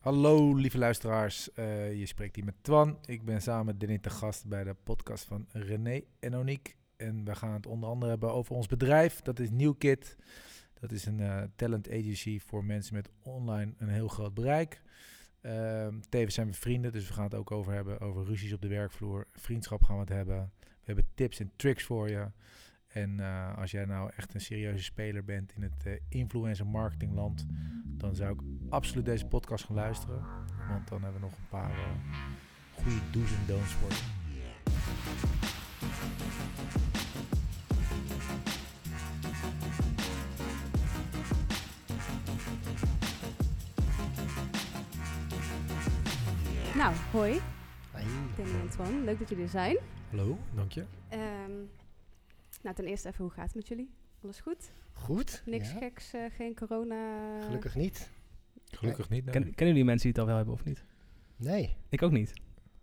Hallo lieve luisteraars, Eh, je spreekt hier met Twan. Ik ben samen met Denny te gast bij de podcast van René en Onique. En we gaan het onder andere hebben over ons bedrijf. Dat is New Kid. Dat is een eh, talent agency voor mensen met online een heel groot bereik. Ehm, tevens zijn we vrienden, dus we gaan het ook over hebben over ruzies op de werkvloer. Vriendschap gaan we het hebben. We hebben tips en tricks voor je. En eh, als jij nou echt een serieuze speler bent in het eh, influencer marketingland, dan zou ik absoluut deze podcast gaan luisteren. Want dan hebben we nog een paar eh, goede do's en don'ts voor je. Nou, hoi, Hey. Danny en Twan. Leuk dat jullie er zijn. Hallo, dank je. Ehm, nou, ten eerste even, hoe gaat het met jullie? Alles goed? Goed. Niks ja. geks, eh, geen corona? Gelukkig niet. Gelukkig niet. nee. Ken, kennen jullie mensen die het al wel hebben of niet? Nee. Ik ook niet.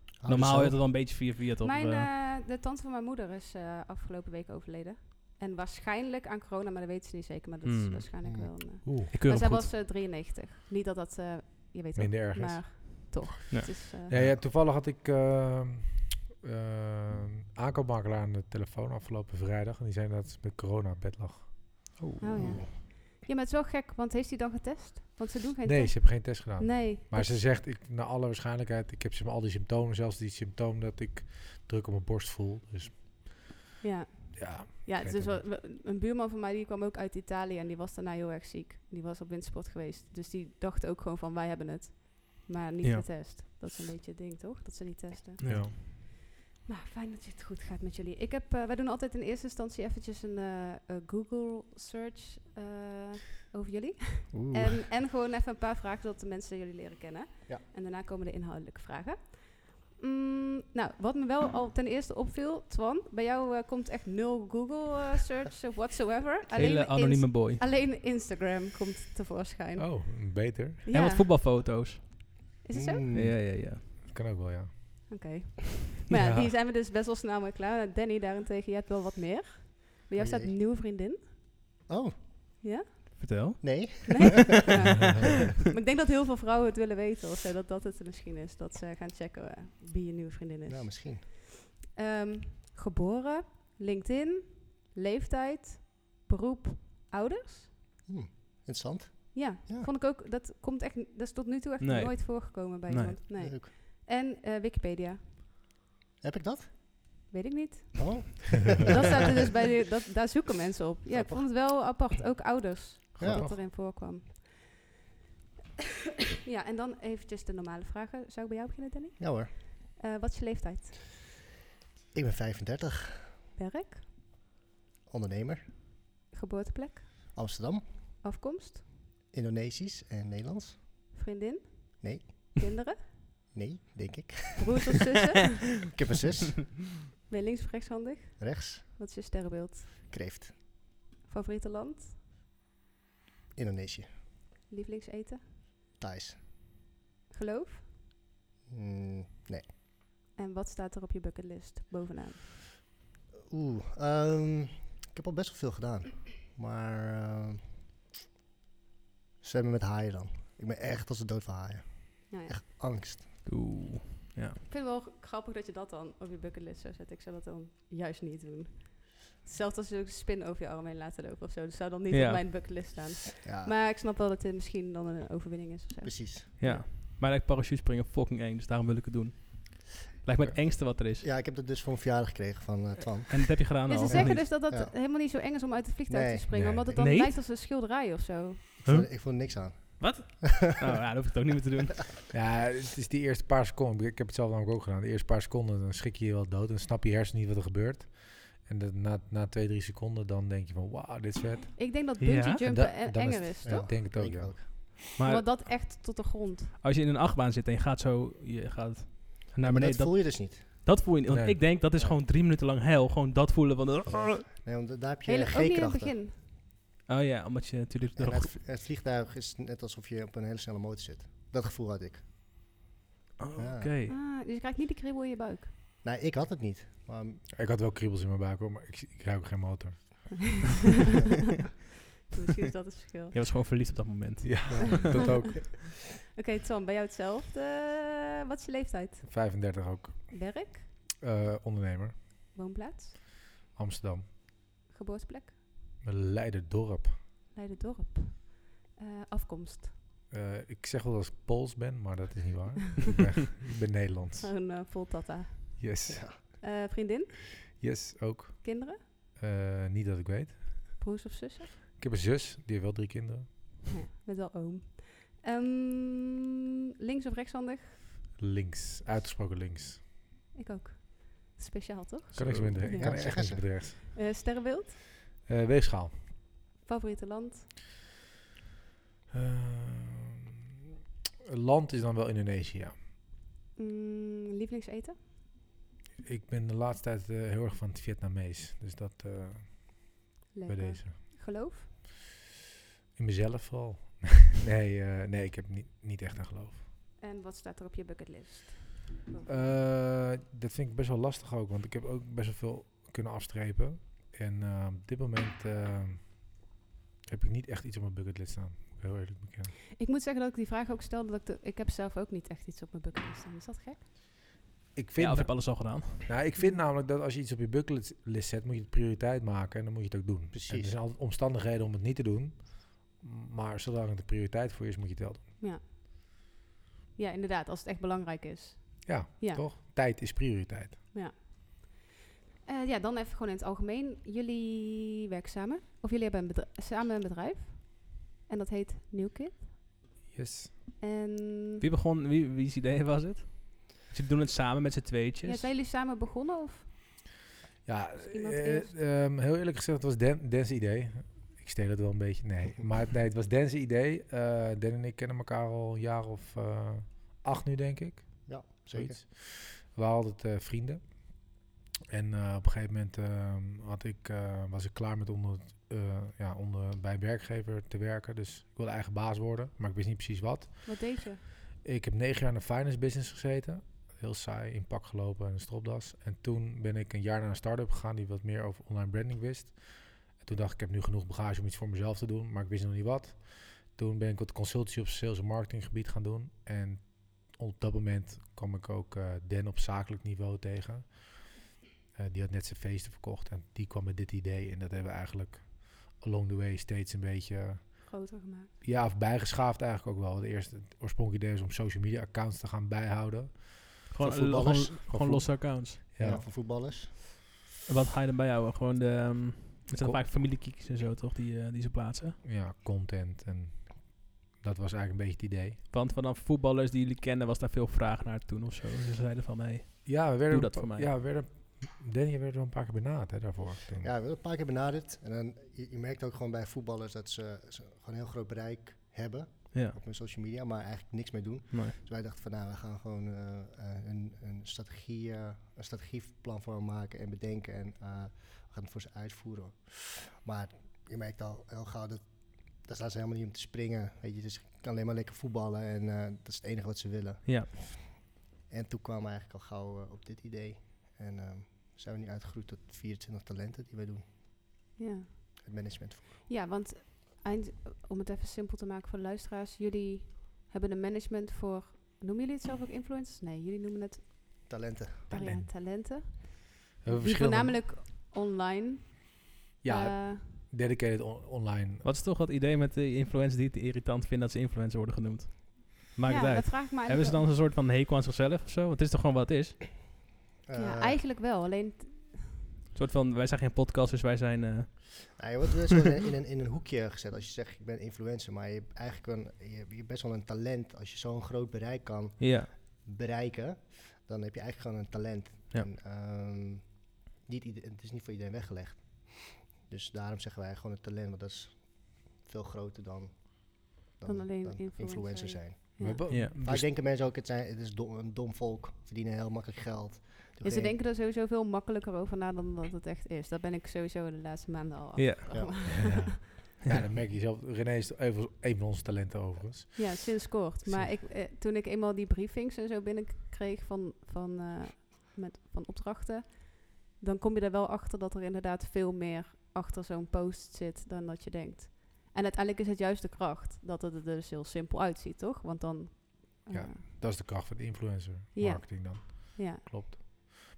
Houden Normaal zo. heet het wel een beetje via via toch? Mijn, eh, eh, de tante van mijn moeder is eh, afgelopen week overleden. En waarschijnlijk aan corona, maar dat weten ze niet zeker. Maar dat is Hmm. waarschijnlijk Hmm. wel een... eh, Oeh, ik maar keur hem zij goed. was eh, 93. Niet dat dat, eh, je weet het, minder erg is. maar toch. Ja. Het is, eh, Ja, ja, toevallig had ik ehm ehm, aankoopmakelaar aan de telefoon afgelopen vrijdag. En die zei dat ze met corona op bed lag. Oh. Oh, ja. ja, maar het is wel gek, want heeft hij dan getest? Want ze doen geen Nee, ze test. hebben geen test gedaan. Nee. Maar dat- ze zegt, ik, naar alle waarschijnlijkheid, ik heb ze- al die symptomen. Zelfs die symptoom dat ik druk op mijn borst voel. Dus Ja. ja, Ja, Kijk, het is dus en- wel, we- een buurman van mij die kwam ook uit Italië en die was daarna heel erg ziek. Die was op windsport geweest. Dus die dacht ook gewoon van wij hebben het. Maar niet Ja. getest. Dat is een beetje het ding, toch? Dat ze niet testen. ja. Maar fijn dat het goed gaat met jullie. Ik heb, eh, wij doen altijd in eerste instantie eventjes een eh, eh, Google search eh, over jullie. Oeh. En, Ehm, en gewoon even een paar vragen zodat de mensen jullie leren kennen. Ja. En daarna komen de inhoudelijke vragen. Mm, nou, wat me wel al ten eerste opviel, Twan, bij jou eh, komt echt nul Google eh, search of whatsoever. Hele Inst- anonieme boy. alleen Instagram komt tevoorschijn. Oh, beter. Ja. En wat voetbalfoto's. Is het zo? Mm. Ja, ja, ja. Dat kan ook wel, ja. Oké. Maar ja, Ja. die zijn we dus best wel snel mee klaar. Danny daarentegen, jij hebt wel wat meer. Bij jou Oh staat jee. nieuwe vriendin. Oh, Ja? Vertel. nee. Nee? Ja. Maar ik denk dat heel veel vrouwen het willen weten. Of zo, dat dat het misschien is. Dat ze gaan checken eh, wie je nieuwe vriendin is. Nou, misschien. Ehm, geboren, LinkedIn, leeftijd, beroep, ouders. Hm, Interessant. Ja, Ja. vond ik ook. Dat komt echt. Dat is tot nu toe echt Nee. nooit voorgekomen bij Nee. iemand. Nee. Leuk. En eh, Wikipedia. Heb ik dat? Weet ik niet. Oh, dat staat er dus bij de, dat, daar zoeken mensen op. Ja, ik Grappig. vond het wel apart. Ook ouders. Ja. Dat erin voorkwam. ja, en dan eventjes de normale vragen. Zou ik bij jou beginnen, Danny? ja hoor. Eh, wat is je leeftijd? Ik ben 35, Werk, ondernemer, geboorteplek, Amsterdam, afkomst, Indonesisch en Nederlands. vriendin? Nee. Kinderen? Nee, denk ik. Broers of zussen? Ik heb een zus, Ben je links of rechtshandig? rechts, Wat is je sterrenbeeld? kreeft, Favoriete land? Indonesië, Lievelingseten? Thais. Geloof? Mm, nee. En wat staat er op je bucketlist bovenaan? Oeh, ehm, ik heb al best wel veel gedaan. Maar ehm, zwemmen met haaien dan. Ik ben echt als de dood van haaien. Nou ja. Echt angst. Oeh. Ik vind het wel grappig dat je dat dan op je bucketlist zou zetten. Ik zou dat dan juist niet doen. Hetzelfde als je een spin over je arm heen laten lopen of zo. Dat zou dan niet Ja. op mijn bucketlist staan. Ja, Maar ik snap wel dat dit misschien dan een overwinning is of zo. precies. Ja. Maar lijkt parachute springen fucking eng, dus daarom wil ik het doen. Lijkt me het engste wat er is. Ja, ik heb dat dus voor mijn verjaardag gekregen van eh, Twan. En dat heb je gedaan Ja, al. ze of zeggen niet? dus dat dat Ja. helemaal niet zo eng is om uit het vliegtuig Nee. te springen. Nee. Omdat het dan Nee? lijkt als een schilderij of zo. Ik, Huh? vond, ik vond niks aan. Nou ja, dat hoef ik het ook niet meer te doen. Ja, het is die eerste paar seconden. Ik heb het zelf namelijk ook gedaan. De eerste paar seconden, dan schrik je je wel dood. Dan snap je hersen niet wat er gebeurt. En dat na, na twee, drie seconden, dan denk je van... Wauw, dit is vet. Ik denk dat Ja. bungee En jumpen dat- en- dan is enger het- is, ja. toch? Ik denk het ook, Ik ja. ook. Maar Want dat echt tot de grond. als je in een achtbaan zit en je gaat zo, je gaat naar Maar dat beneden, dat, voel je dus niet. dat voel je niet. Want Nee. ik denk, dat is Nee. gewoon drie minuten lang hel. Gewoon dat voelen van... de- Nee, want daar heb je Hele, ook niet in het G-krachten. begin. Oh ja, omdat je natuurlijk... En nog- het, het vliegtuig is net alsof je op een hele snelle motor zit. Dat gevoel had ik. Oh, Ja. Oké. Ah, dus je krijgt niet de kriebel in je buik. Nee, ik had het niet. Maar, mm, Ik had wel kriebels in mijn buik, hoor, maar ik, ik ruik geen motor. Misschien is dat het verschil. Je was gewoon verliefd op dat moment. Ja, dat ook. Oké, Tom, bij jou hetzelfde. Eh, Wat is je leeftijd? 35 ook. Werk, Eh, ondernemer. woonplaats, Amsterdam. geboorteplek, Leiderdorp. Leiden-dorp, Eh, afkomst. Eh, ik zeg wel dat ik Pools ben, maar dat is niet waar. ik, ben, ik ben Nederlands. Gewoon eh, vol tata. Yes. Eh, vriendin, Yes, ook. kinderen, Eh, niet dat ik weet. broers of zussen? Ik heb een zus, die heeft wel drie kinderen. Ja, met wel oom. Ehm, links of rechtshandig? Links, uitgesproken links. Ik ook. Speciaal toch? Kan niks Zo. minder. Ja. Ik kan Ja, echt zeg niks eens. met rechts. Eh, sterrenbeeld, Eh, weegschaal. favoriete land, Ehm, land is dan wel Indonesië. Mm, lievelingseten, Ik ben de laatste tijd eh, heel erg van het Vietnamees. Dus dat eh, bij lekker. deze. Geloof, In mezelf vooral. nee, eh, nee, ik heb niet, niet echt aan geloof. en wat staat er op je bucketlist? Eh, dat vind ik best wel lastig ook, want ik heb ook best wel veel kunnen afstrepen. En eh, op dit moment eh, heb ik niet echt iets op mijn bucketlist staan. Moet ik heel eerlijk bekennen. Ik moet zeggen dat ik die vraag ook stelde. Dat ik, de- ik heb zelf ook niet echt iets op mijn bucketlist staan. Is dat gek? Ik vind, Ja, of heb alles al gedaan. nou, ik vind namelijk dat als je iets op je bucketlist zet, moet je het prioriteit maken en dan moet je het ook doen. Precies. En er zijn altijd omstandigheden om het niet te doen, maar zolang het de prioriteit voor je is, moet je het wel doen. Ja, inderdaad. Als het echt belangrijk is. Ja, Ja. toch? Tijd is prioriteit. Eh, ja, dan even gewoon in het algemeen. Jullie werken samen. Of jullie hebben een bedri- samen een bedrijf. En dat heet New Kid. Yes. En Wie begon, wie, wie's idee was het? Ze doen het samen met z'n tweetjes. ja, zijn jullie samen begonnen? Of? Ja, iemand eh, eerst? ehm, heel eerlijk gezegd, het was Dan, Dan's idee. Ik steed het wel een beetje, nee. Maar het- nee, het was Dan's idee. Eh Dan en ik kennen elkaar al een jaar of eh, acht nu, denk ik. Ja, zeker. Zoiets. We hadden het eh, vrienden. En eh, op een gegeven moment ehm, had ik, eh, was ik klaar met onder, het, eh, ja, onder, bij een werkgever te werken. Dus ik wilde eigen baas worden, maar ik wist niet precies wat. Wat deed je? Ik heb negen jaar in de finance business gezeten. Heel saai, in pak gelopen en een stropdas. En toen ben ik een jaar naar een start-up gegaan die wat meer over online branding wist. En toen dacht ik, ik heb nu genoeg bagage om iets voor mezelf te doen, maar ik wist nog niet wat. Toen ben ik wat consultancy op sales en marketing gebied gaan doen. En op dat moment kwam ik ook eh Dan op zakelijk niveau tegen. Eh, die had net zijn feesten verkocht en die kwam met dit idee. En dat hebben we eigenlijk along the way steeds een beetje Groter gemaakt. ja, of bijgeschaafd eigenlijk ook wel. De eerste het oorspronkelijke idee is om social media accounts te gaan bijhouden. gewoon, Van voetballers. gewoon, gewoon losse accounts. Ja, Ja. voor voetballers. En wat ga je dan bij jou? Gewoon de... ehm het zijn Kom. vaak familiekieks en zo, toch? Die, eh, die ze plaatsen. ja, content en dat was eigenlijk een beetje het idee. Want vanaf voetballers die jullie kennen was daar veel vraag naar toen of zo. Dus ze zeiden van, hé, Ja, we werden, Doe dat voor mij. Ja, we werden, Danny werd wel een paar keer benaderd hè, daarvoor. toen. Ja, we hebben een paar keer benaderd. En dan, je, je merkt ook gewoon bij voetballers dat ze, ze gewoon een heel groot bereik hebben ja. op hun social media, maar eigenlijk niks mee doen. Nee. Dus wij dachten van nou, we gaan gewoon eh, eh, een, een, strategie, eh, een strategieplan voor hem maken en bedenken. En eh, we gaan het voor ze uitvoeren. Maar je merkt al heel gauw dat daar staan ze helemaal niet om te springen. Weet je, dus je kan alleen maar lekker voetballen en eh, dat is het enige wat ze willen. Ja. En toen kwamen we eigenlijk al gauw eh, op dit idee. En ehm, zijn we nu uitgegroeid tot 24 talenten die wij doen. Ja. Het management. Ja, want eind, om het even simpel te maken voor de luisteraars. Jullie hebben een management voor... Noemen jullie het zelf ook influencers? Nee, jullie noemen het Talenten. Talent. ja, talenten. We hebben Die verschillende- voornamelijk online. Ja, eh, dedicated on- online. Wat is toch dat idee met de influencers die het irritant vinden dat ze influencer worden genoemd? Maakt ja, het uit. dat vraag ik me Hebben eigenlijk ze dan wel. een soort van hekel aan zichzelf of zo? Want het is toch gewoon wat het is? Ja, Eh, eigenlijk wel. Alleen, t- Een soort van, wij zijn geen podcast, dus wij zijn... eh, Nou, je wordt wel zo in, een- in een, in een hoekje gezet als je zegt ik ben influencer, maar je hebt eigenlijk wel een, je, hebt- je hebt best wel een talent. Als je zo'n groot bereik kan ja, bereiken, dan heb je eigenlijk gewoon een talent. Ja. En, ehm, niet ieder- het is niet voor iedereen weggelegd. Dus daarom zeggen wij gewoon een talent, want dat is veel groter dan, Dan alleen influencer. zijn. We ja. hebben- Ja. we Vaak denken mensen ook, het, zijn, het is dom, een dom volk, verdienen heel makkelijk geld. Ja, ze denken er sowieso veel makkelijker over na dan dat het echt is. Dat ben ik sowieso de laatste maanden al af. Ja. ja. ja. ja, dan merk je zelf. René is even een van onze talenten overigens. sinds kort. Maar ik, eh, toen ik eenmaal die briefings en zo binnenkreeg van, van, eh, met, van opdrachten, dan kom je er wel achter dat er inderdaad veel meer achter zo'n post zit dan dat je denkt. En uiteindelijk is het juist de kracht dat het er dus heel simpel uitziet, toch? Want dan. eh, Ja. Dat is de kracht van de influencer Ja. marketing dan. ja. Klopt.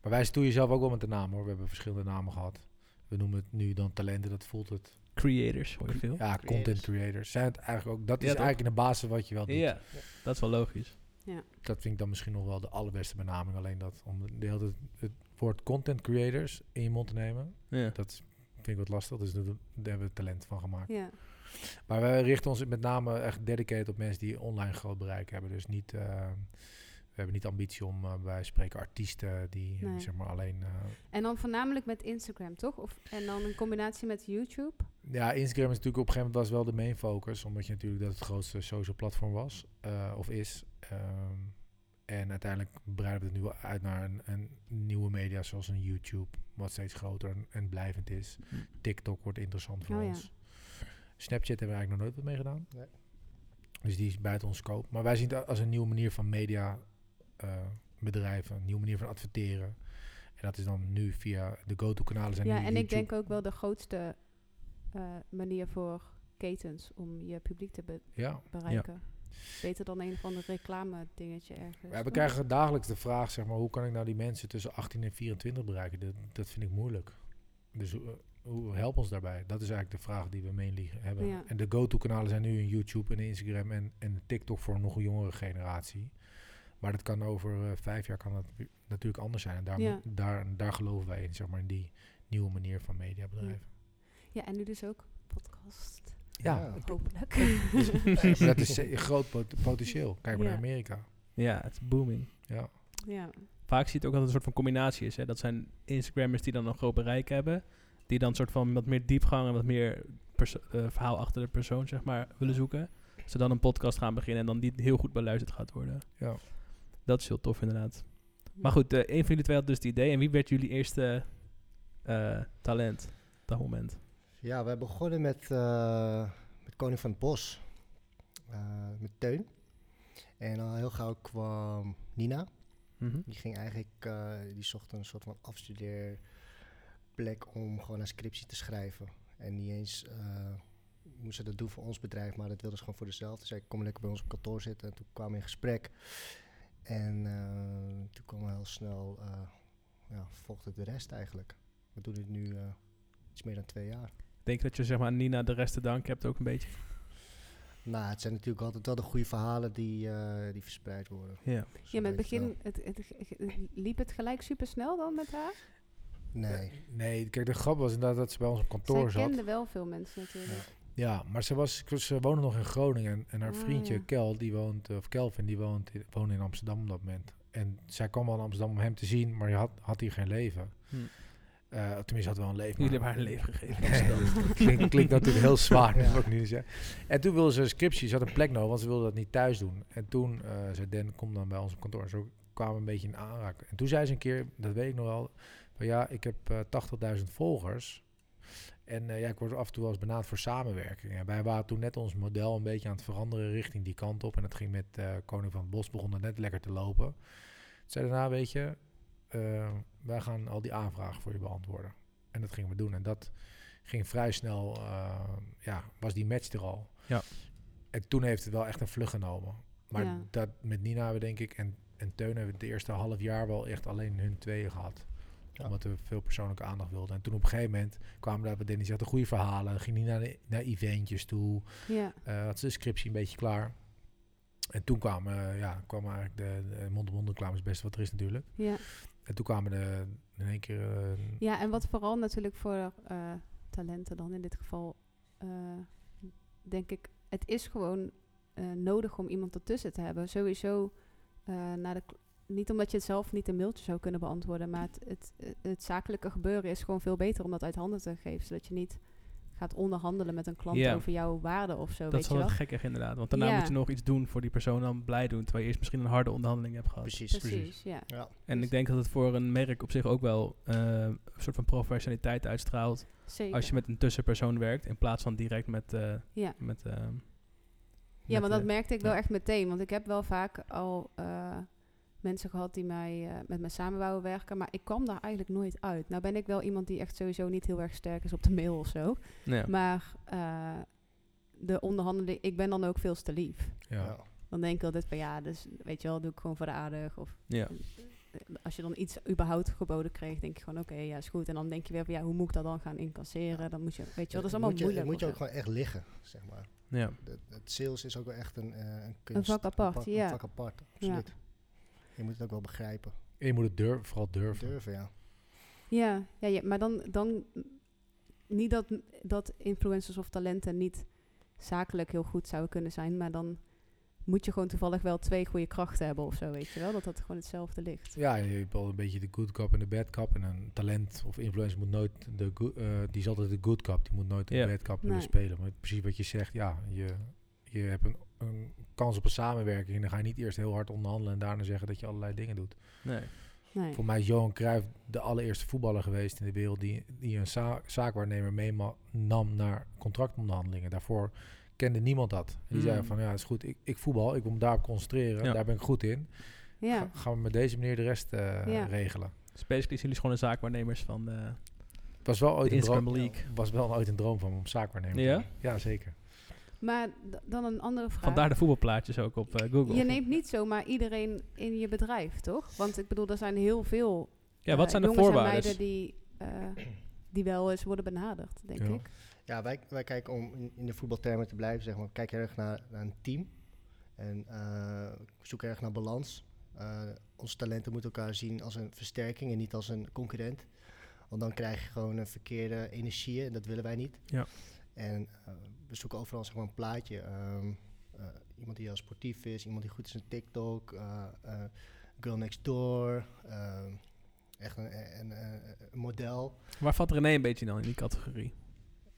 Maar wij stoeien zelf ook wel met de naam hoor. We hebben verschillende namen gehad. We noemen het nu dan talenten, dat voelt het. Creators, hoor je veel. Ja, content creators. Zijn het eigenlijk ook, dat Ja, is toch? eigenlijk in de basis wat je wel doet. Ja, dat is wel logisch. Dat vind ik dan misschien nog wel de allerbeste benaming. Alleen dat om de hele tijd het woord content creators in je mond te nemen, Ja. dat is- vind ik wat lastig. Dus dat- daar hebben we talent van gemaakt. ja. Maar wij richten ons met name echt dedicated op mensen die online groot bereik hebben. Dus niet, eh, we hebben niet ambitie om, eh, wij spreken artiesten die eh, Nee. zeg maar alleen eh, En dan voornamelijk met Instagram, toch? Of, en dan in combinatie met YouTube. Ja, Instagram is natuurlijk op een gegeven moment was wel de main focus. Omdat je natuurlijk dat het grootste social platform was. eh, of is. Ehm, en uiteindelijk breiden we het nu wel uit naar een, een nieuwe media zoals een YouTube. Wat steeds groter en, en blijvend is. TikTok wordt interessant voor Oh ja. ons. Snapchat hebben we eigenlijk nog nooit wat mee gedaan. Nee. Dus die is buiten ons scope. Maar wij zien het als een nieuwe manier van media eh, bedrijven. Een nieuwe manier van adverteren. En dat is dan nu via de go-to-kanalen zijn ja, nu en ik YouTube. denk ook wel de grootste eh, manier voor ketens om je publiek te be- Ja, bereiken. Beter dan een van de reclame dingetje ergens. Ja, we toch? krijgen dagelijks de vraag, zeg maar, hoe kan ik nou die mensen tussen 18 en 24 bereiken? Dat, dat vind ik moeilijk. Dus hoe- hoe, help ons daarbij. Dat is eigenlijk de vraag die we mainly hebben. Ja. En de go-to-kanalen zijn nu een YouTube en een Instagram en, en TikTok voor een nog een jongere generatie. Maar dat kan over eh, vijf jaar kan dat wi- natuurlijk anders zijn. En daar, Ja. moet- daar, daar geloven wij in, zeg maar, in die nieuwe manier van mediabedrijven. Ja, en nu dus ook podcast. Ja, Ja. Hopelijk. maar dat is eh, groot pot- potentieel. Kijk maar Ja. naar Amerika. ja, het is booming. Ja. ja. Vaak zie je het ook dat het een soort van combinatie is. Hè? Dat zijn Instagrammers die dan een groot bereik hebben. Die dan soort van wat meer diepgang en wat meer perso- eh, verhaal achter de persoon, zeg maar, willen zoeken. Ze dan een podcast gaan beginnen en dan die heel goed beluisterd gaat worden. Ja. Dat is heel tof inderdaad. Maar goed, eh, een van jullie twee had dus het idee. En wie werd jullie eerste eh, talent op dat moment? Ja, wij begonnen met, eh, met Koning van het Bos. Eh, met Teun. En al heel gauw kwam Nina. Mhm. Die ging eigenlijk, eh, die zocht een soort van afstudeerplek om gewoon een scriptie te schrijven. En niet eens eh, moest ze dat doen voor ons bedrijf, maar dat wilde ze gewoon voor zichzelf. Dus zei, kom lekker bij ons op kantoor zitten. En toen kwamen we in gesprek. En eh, toen kwam heel snel, eh ja, volgde de rest eigenlijk. We doen dit nu eh, iets meer dan twee jaar. Denk je dat je zeg maar aan Nina de rest te danken hebt ook een beetje? Nou, het zijn natuurlijk altijd wel de goede verhalen die, eh, die verspreid worden. Ja. Dus Ja, met het dat weet je wel. begin het, het, het- liep het gelijk super snel dan met haar. Nee. Nee, kijk, de grap was inderdaad dat ze bij ons op kantoor Zij zat. kende wel veel mensen natuurlijk. Ja, maar ze, was, ze woonde nog in Groningen. En, haar Ah, vriendje ja. Kel, die woont, of Kelvin, die woont, in- woonde in Amsterdam op dat moment. En zij kwam wel in Amsterdam om hem te zien, maar hij had, had hier geen leven. Hm. Eh, tenminste, had wel een leven. Jullie hebben maar- haar een leven gegeven. Nee, dat klinkt, klinkt natuurlijk heel zwaar, dat Ja. wil ik niet zeggen. En toen wilde ze een scriptie, ze had een plek nodig, want ze wilde dat niet thuis doen. En toen eh, zei Den, kom dan bij ons op kantoor. En zo kwamen we een beetje in aanraking. En toen zei ze een keer, dat weet ik nog wel, van ja, ik heb eh 80.000 volgers. En eh, ja, ik word af en toe wel eens benaderd voor samenwerking. En wij waren toen net ons model een beetje aan het veranderen richting die kant op. En dat ging met eh, Koning van het Bos, begon dat net lekker te lopen. Toen zei daarna, weet je, eh, wij gaan al die aanvragen voor je beantwoorden. En dat gingen we doen. En dat ging vrij snel, eh, ja, was die match er al. Ja. En toen heeft het wel echt een vlucht genomen. Maar Ja. dat met Nina hebben we denk ik en, en Teun hebben we het eerste half jaar wel echt alleen hun tweeën gehad. Ja. Omdat we veel persoonlijke aandacht wilden. En toen op een gegeven moment kwamen daar bij Dennis, had de goede verhalen. Ging niet naar, de- naar eventjes toe. Ja. eh had ze de scriptie een beetje klaar. En toen kwamen, eh, ja, kwamen eigenlijk de, de mond-op-mond reclame is best wat er is natuurlijk. Ja. En toen kwamen de, in één keer eh, ja, en wat vooral natuurlijk voor eh, talenten dan in dit geval, eh, denk ik, het is gewoon eh, nodig om iemand ertussen te hebben. Sowieso, eh, naar de, kl- niet omdat je het zelf niet een mailtje zou kunnen beantwoorden, maar het, het, het, het zakelijke gebeuren is gewoon veel beter om dat uit handen te geven, zodat je niet gaat onderhandelen met een klant Ja. over jouw waarde of zo, Dat weet is je wel wel. het gekkig inderdaad. Want daarna Ja. moet je nog iets doen voor die persoon dan blij doen. Terwijl je eerst misschien een harde onderhandeling hebt gehad. Precies. Precies, ja. Ja. En ik denk dat het voor een merk op zich ook wel eh, een soort van professionaliteit uitstraalt. Zeker. Als je met een tussenpersoon werkt. In plaats van direct met... eh, Ja. met eh, Ja, met, maar eh, dat merkte ik wel ja. echt meteen. Want ik heb wel vaak al eh, mensen gehad die mij, eh, met mij samen wouden werken. Maar ik kwam daar eigenlijk nooit uit. Nou ben ik wel iemand die echt sowieso niet heel erg sterk is op de mail of zo. nou ja. Maar eh, de onderhandeling, ik ben dan ook veel te lief. Ja. Ja. Dan denk ik altijd van ja, dus weet je wel, doe ik gewoon voor de aardig. Of eh, Ja. als je dan iets überhaupt geboden kreeg, denk je gewoon oké, ja is goed. En dan denk je weer van ja, hoe moet ik dat dan gaan incasseren? Dan moet je, weet je wel, dat is allemaal moet je, moeilijk. moet je of ook zo. gewoon echt liggen, zeg maar. ja. Dat- dat sales is ook wel echt een, eh, een kunst. vak apart, pa- ja. Een vak apart, absoluut. Je moet het ook wel begrijpen. En je moet het durf, vooral durven. Durven, ja. Ja, ja, ja, maar dan, dan niet dat, dat influencers of talenten niet zakelijk heel goed zouden kunnen zijn, maar dan moet je gewoon toevallig wel twee goede krachten hebben of zo, weet je wel, dat dat gewoon hetzelfde ligt. Ja, je hebt al een beetje de good cop en de bad cop. En een talent of influencer moet nooit de go- eh, die is altijd de good cop. Die moet nooit de Ja. bad cop willen Nee. spelen. Maar precies wat je zegt, ja, je, je hebt een, een kans op een samenwerking. En dan ga je niet eerst heel hard onderhandelen en daarna zeggen dat je allerlei dingen doet. Nee. Nee. Voor mij is Johan Cruijff de allereerste voetballer geweest in de wereld die, die een za- zaakwaarnemer meenam naar contractonderhandelingen. Daarvoor kende niemand dat. En die zei Mm. van ja, is goed, ik, ik voetbal, ik moet me daarop concentreren, Ja. daar ben ik goed in. Ja, Ga- gaan we met deze manier de rest eh, Ja. regelen. Dus basically zijn jullie gewoon de zaakwaarnemers van eh, Het was wel ooit de een droom. Instagram League. Was wel ooit een droom van me om zaakwaarnemer te Ja? worden. Ja, zeker. maar d- dan een andere vraag. Vandaar de voetbalplaatjes ook op eh, Google. Je neemt niet zomaar iedereen in je bedrijf, toch? Want ik bedoel, er zijn heel veel ja, wat eh, zijn de jongens en voorwaarden? meiden die, eh, die wel eens worden benaderd, denk Ja. ik. Ja, wij, wij kijken om in, in de voetbaltermen te blijven, zeg maar. We kijken erg naar, naar een team. En eh, we zoeken erg naar balans. Eh, onze talenten moeten elkaar zien als een versterking en niet als een concurrent. Want dan krijg je gewoon een verkeerde energie en dat willen wij niet. Ja. En eh, we zoeken overal zeg maar, een plaatje. Ehm, eh, iemand die heel sportief is, iemand die goed is in TikTok, eh, eh, Girl Next Door. ehm, echt een, een, een, een model. Waar valt René een beetje dan in die categorie?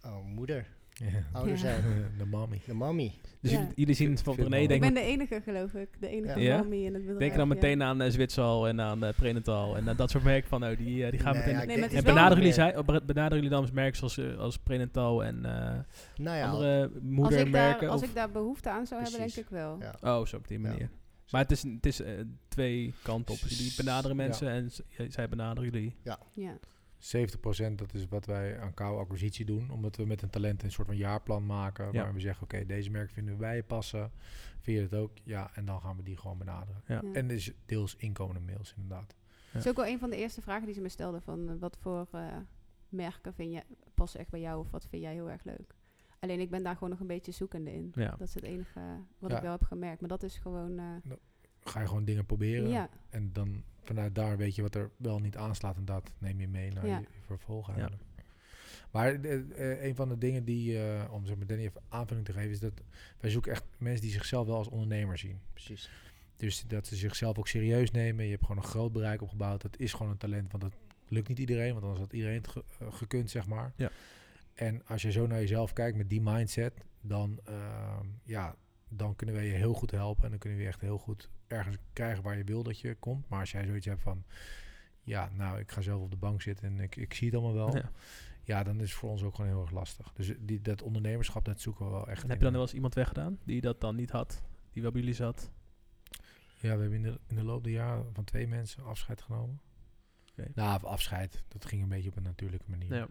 Oh, moeder, Ja. Oh, ouder Ja. zijn, De mommy. de mammy. Dus Ja. jullie, jullie zien het van Vind René, wel. Ik denk, ben de enige, geloof ik. De enige Ja? mommy in het bedrijf. denk dan ja. meteen aan eh, Zwitsal en aan eh, Prenatal en aan dat soort merken van, oh, die, eh, die gaan Nee, meteen... ja, Nee, maar ik denk- het is en wel- benaderen jullie, zij, oh, bre- benaderen jullie dan eens merken zoals, eh, als Prenatal en eh, Nou ja, andere Als ik, moedermerken? daar, als of- ik daar behoefte aan zou hebben, Precies. denk ik wel. Ja. Oh, zo op die manier. Maar het is, het is eh, twee kanten op. Dus jullie benaderen Ja. mensen en z- j- zij benaderen jullie. Ja. 70% dat is wat wij aan kou acquisitie doen. Omdat we met een talent een soort van jaarplan maken. Ja. Waar we zeggen, oké, deze merk vinden wij passen. Vind je het ook? Ja, en dan gaan we die gewoon benaderen. Ja. Ja. En eh, het is deels inkomende mails inderdaad. Dat is ook wel een van de eerste vragen die ze me stelden. Van eh, wat voor eh, merken vind je, passen echt bij jou of wat vind jij heel erg leuk? Alleen ik ben daar gewoon nog een beetje zoekende in. Ja. Dat is het enige eh, wat Ja. ik wel heb gemerkt. Maar dat is gewoon... eh, Ga je gewoon dingen proberen. ja, En dan vanuit daar weet je wat er wel niet aanslaat. En dat neem je mee naar Ja. je vervolg eigenlijk. Maar de- eh, een van de dingen die, eh, om zeg maar Danny even aanvulling te geven, is dat wij zoeken echt mensen die zichzelf wel als ondernemer zien. Precies. Dus dat ze zichzelf ook serieus nemen. Je hebt gewoon een groot bereik opgebouwd. Dat is gewoon een talent, want dat lukt niet iedereen. Want anders had iedereen het ge- eh, gekund, zeg maar. Ja. En als je zo naar jezelf kijkt met die mindset, dan, ehm, ja, dan kunnen wij je heel goed helpen. En dan kunnen we je echt heel goed ergens krijgen waar je wil dat je komt. Maar als jij zoiets hebt van, ja, nou, ik ga zelf op de bank zitten en ik, ik zie het allemaal wel. Ja. Ja. dan is het voor ons ook gewoon heel erg lastig. Dus die, dat ondernemerschap, dat zoeken we wel echt. En heb in je dan een- wel eens iemand weggedaan die dat dan niet had? Die wel bij jullie zat? Ja, we hebben in de, in de loop der jaren van twee mensen afscheid genomen. Oké. Nou, of afscheid. Dat ging een beetje op een natuurlijke manier. Ja.